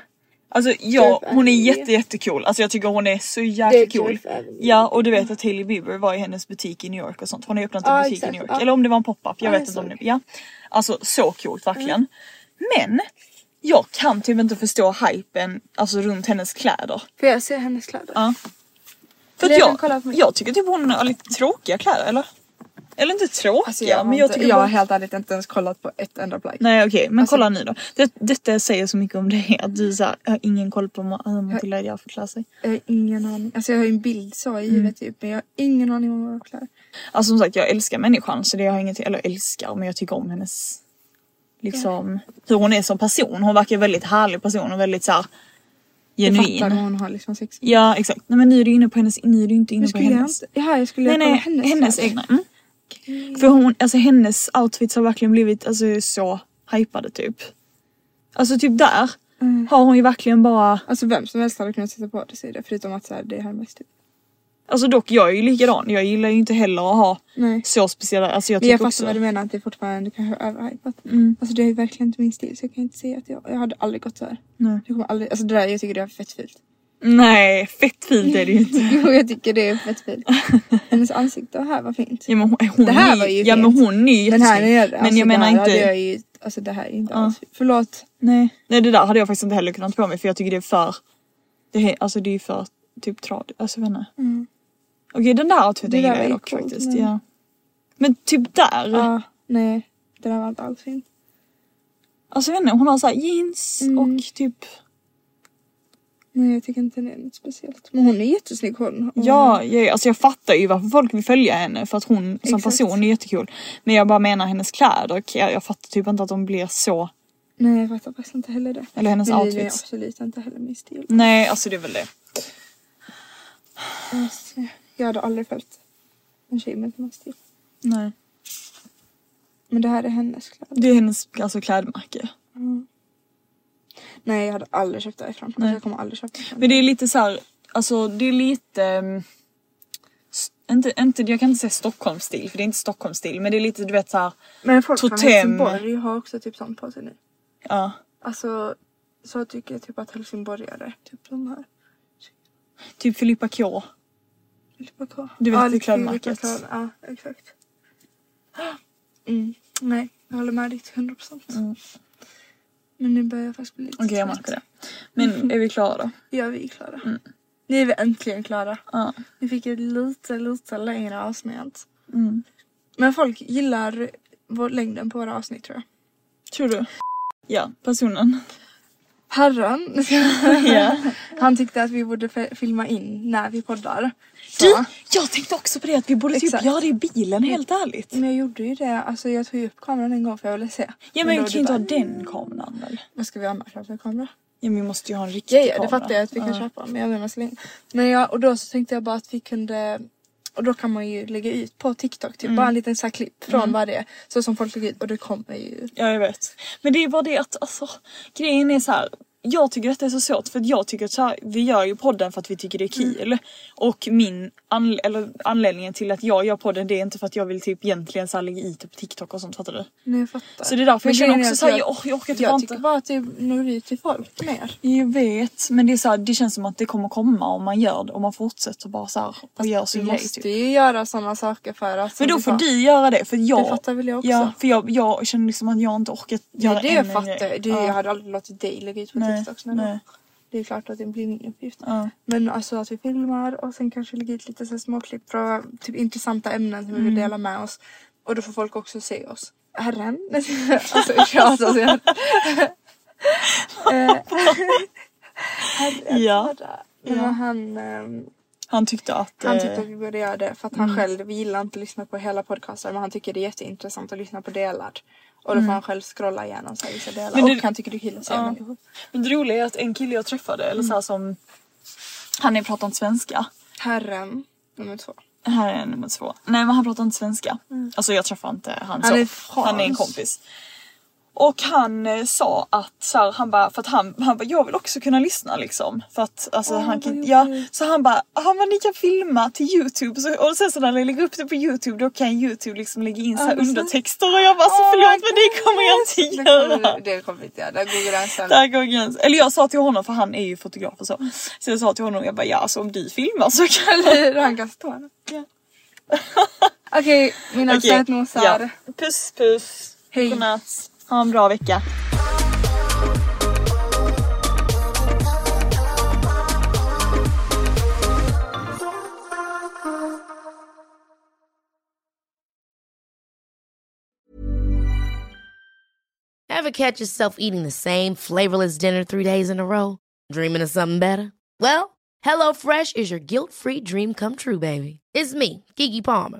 S2: Alltså ja,
S1: Typ,
S2: hon är
S1: ja.
S2: jätte jättecool. Alltså jag tycker hon är så
S1: Det är
S2: jäkla
S1: kul
S2: cool.
S1: för även-
S2: Ja och du vet att Hailey Bieber var i hennes butik i New York och sånt. Hon har ju öppnat en
S1: Ja,
S2: butik
S1: exakt,
S2: i New York.
S1: ja.
S2: Eller om det var en pop-up, jag
S1: Ja, Mm.
S2: vet inte
S1: jag
S2: om det.
S1: såg.
S2: Ja. Alltså så coolt verkligen. Men jag kan typ inte förstå hypen alltså runt hennes kläder.
S1: Får jag se hennes kläder?
S2: Ja. För att
S1: jag kan
S2: jag,
S1: kolla på
S2: jag,
S1: mig.
S2: tycker typ hon har lite tråkiga kläder eller? Eller inte tråkiga men jag tycker
S1: Alltså, jag har
S2: bara...
S1: helt ärligt inte ens kollat på ett enda plagg.
S2: Nej okej men
S1: Alltså-
S2: kolla nu då. Det, detta säger så mycket om dig att du så här, jag har ingen koll på ma- hur Matilda Diaf får klä sig.
S1: Jag har ingen aning. Alltså jag har ju en bild så i
S2: Mm.
S1: huvudet typ men jag har ingen aning om vad jag har kläder.
S2: Alltså som sagt jag älskar människan så det har jag inget, eller älskar men jag tycker om hennes liksom hur hon är som person. Hon verkar en väldigt härlig person och väldigt såhär
S1: Jag fattar
S2: genuin.
S1: hon har liksom sex.
S2: Ja exakt. Nej men nu är du inne på hennes, nu är du inte inne
S1: Nu
S2: på
S1: skulle jag
S2: hennes.
S1: inte... Ja, jag skulle
S2: Nej
S1: kolla
S2: nej,
S1: hennes,
S2: hennes,
S1: kläder.
S2: egna. Mm. För hon, alltså hennes outfits har verkligen blivit alltså, så hypade typ. Alltså typ där
S1: Mm.
S2: har hon ju verkligen bara
S1: Alltså vem som helst hade kunnat sätta på det sig det förutom att så här, det här är mest typ.
S2: Alltså dock jag är ju likadan. Jag gillar ju inte heller att ha
S1: Nej.
S2: så speciella, alltså jag
S1: Men jag
S2: tycker
S1: fattar
S2: också. Mm.
S1: vad du menar att det fortfarande kanske är överhypat. Alltså det är ju verkligen inte min stil så jag kan inte säga att jag, jag hade aldrig gått så här.
S2: Nej.
S1: Jag kommer aldrig, alltså det där jag tycker det är fett fult. [laughs]
S2: Nej, fett fint är det ju inte.
S1: Jo jag tycker det är fett
S2: [laughs]
S1: fult. Hennes ansikte här var fint.
S2: Ja men hon, hon
S1: Det här
S2: är,
S1: var ju
S2: Ja
S1: fint.
S2: men hon är ju
S1: Den här
S2: jättesnygg.
S1: nere,
S2: Men
S1: alltså
S2: jag menar
S1: där
S2: inte...
S1: hade jag ju, alltså det här är inte
S2: Ja.
S1: alls fint. Förlåt.
S2: Nej. Nej det där hade jag faktiskt inte heller kunnat på mig för jag tycker det är för... Det är, alltså det är för typ trad... Alltså jag vet inte. Okej den där
S1: Det
S2: outfiten
S1: där
S2: gillar
S1: var
S2: jag
S1: ju
S2: dock
S1: coolt,
S2: faktiskt.
S1: men-
S2: Ja. Men typ där.
S1: Ja, nej. Det där var inte alls fint. Mm.
S2: Alltså jag vet inte, hon har såhär jeans och typ...
S1: Nej jag tycker inte det är något speciellt. Men hon är jättesnygg hon. Och-
S2: Mm. Ja, jag, alltså jag fattar ju varför folk vill följa henne för att hon som
S1: Exakt.
S2: person är jättekul. Men jag bara menar hennes kläder. Jag, jag fattar typ inte att de blir så.
S1: Nej jag fattar faktiskt inte heller det.
S2: Eller hennes
S1: Men det är
S2: outfits.
S1: absolut inte heller min stil.
S2: Nej, alltså det är väl det.
S1: Alltså, Jag hade aldrig följt en tjej med någon stil.
S2: Nej.
S1: Men det här är hennes kläder.
S2: Det är hennes alltså, klädmärke.
S1: Nej jag hade aldrig köpt därifrån.
S2: Nej.
S1: Jag kommer aldrig köpa därifrån.
S2: Men det är lite så här, alltså det är lite... ehm, s- inte, inte, jag kan inte säga Stockholmsstil för det är inte Stockholmsstil men det är lite du vet så här,
S1: Men folk från
S2: Totem.
S1: Helsingborg har också typ sånt på sig nu.
S2: ja.
S1: Alltså så tycker jag typ att helsingborgare, typ de här.
S2: Typ Filippa K.
S1: Filippa K.
S2: Du vet,
S1: Ja,
S2: det är
S1: lite
S2: klädmärket.
S1: Filippa K, Ja exakt.
S2: [gasps]
S1: Mm. Nej jag håller med dig till 100%. Men nu börjar jag faktiskt bli lite
S2: Mm. Okej jag
S1: trött.
S2: märker det.
S1: [laughs]
S2: Men är vi klara då?
S1: Ja vi är klara. Nu är vi äntligen klara.
S2: Ja.
S1: Vi fick ett lite, lite längre avsnitt.
S2: Mm.
S1: Men folk gillar vår, längden på våra avsnitt tror jag.
S2: Tror du? Ja, personen.
S1: Herren,
S2: [laughs] ja.
S1: [laughs] han tyckte att vi borde fe- filma in när vi poddar.
S2: Du, jag tänkte också på det att vi borde
S1: Exakt.
S2: typ göra det i bilen helt ärligt.
S1: Men jag gjorde ju det, alltså jag tog ju upp kameran en gång för jag ville se.
S2: Mm. Ja men
S1: då
S2: vi
S1: var
S2: kan ju
S1: du
S2: inte ha
S1: bara,
S2: den kameran väl?
S1: Vad ska vi använda för en kamera?
S2: "Mm." Ja men vi måste ju ha en riktig
S1: Ja, ja det
S2: kamera.
S1: fattar jag att vi kan
S2: Ja.
S1: köpa men jag menar så länge. Men ja, och då så tänkte jag bara att vi kunde och då kan man ju lägga ut på TikTok typ
S2: Mm.
S1: bara en liten så här klipp från varje så som folk lägger ut och det kommer ju.
S2: Ja jag vet. Men det är bara det att alltså grejen är så här. Jag tycker detta är så svårt för att jag tycker att så här, vi gör ju podden för att vi tycker det är kul. Och min anle- eller anledningen till att jag gör podden det är inte för att jag vill typ egentligen så här, lägga i typ TikTok och sånt fattar du?
S1: Nej jag fattar.
S2: Så det är därför
S1: Men
S2: jag känner
S1: grejen är
S2: också
S1: att
S2: så här, jag, jag orkar typ
S1: Jag
S2: bara
S1: tycker
S2: inte.
S1: bara att det når ut till folk mer.
S2: Jag vet men det är så här, det känns som att det kommer komma om man gör det om man fortsätter bara så här, och gör
S1: Du
S2: sin grej.
S1: måste
S2: Typ.
S1: ju göra sådana saker för att... som
S2: Men då
S1: du
S2: får
S1: sa,
S2: du göra det för jag...
S1: Det fattar väl jag också.
S2: Ja för jag, jag känner liksom att jag inte orkat göra
S1: Nej, det
S2: en
S1: jag
S2: en
S1: fattar
S2: grej.
S1: du,
S2: Ja.
S1: Jag hade aldrig låtit dig lägga ut på
S2: Nej,
S1: TikTok snälla.
S2: nej.
S1: Det är klart att det blir min uppgift.
S2: Ja.
S1: Men alltså att vi filmar och sen kanske lägger ut lite så här småklipp från typ intressanta ämnen som
S2: Mm.
S1: vi vill dela med oss. Och då får folk också se oss. Herren. [laughs]
S2: [laughs]
S1: alltså usch, jag hatar att säga det. Eh, Herren.
S2: Ja.
S1: herre. Men han, ehm,
S2: Han tyckte att...
S1: han
S2: eh,
S1: tyckte att vi borde göra det för att
S2: Mm.
S1: han själv gillar inte att lyssna på hela podcasten men han tycker det är jätteintressant att lyssna på delar. Och då får han själv scrolla igenom så här vissa delar.
S2: Mm. Men
S1: och
S2: det-
S1: han tycker det är kul att se
S2: Ja.
S1: människor.
S2: Men det roliga är att en kille jag träffade, eller så här som... Mm. Han är pratar inte svenska.
S1: Herren nummer två.
S2: Här är nummer två. Nej men han pratar inte svenska. Alltså jag träffar inte han,
S1: Mm. Han
S2: så.
S1: är frans.
S2: han är en kompis. Och han eh, sa att så här, han bara, för att han, han bara, jag vill också kunna lyssna liksom. För att alltså han kan ja. Så han bara, han bara ni kan filma till youtube så, och sen så när ni lägger upp det på youtube då kan youtube liksom lägga in så här undertexter och jag bara så
S1: Oh my
S2: förlåt men det kommer jag
S1: Det
S2: inte göra.
S1: kommer, det kommer vi inte göra. Där går gränsen.
S2: Där går gränsen. Eller jag sa till honom, för han är ju fotograf och så. Så jag sa till honom, jag bara ja alltså om du filmar så kan du.
S1: Eller han kan stå här. Okej, mina
S2: Okej,
S1: sötnosar.
S2: ja. Puss puss.
S1: Hej.
S2: Godnatt. Ha en bra vecka.
S3: Ever catch yourself eating the same flavorless dinner three days in a row? Dreaming of something better? Well, HelloFresh is your guilt free dream come true, baby. It's me, Gigi Palmer.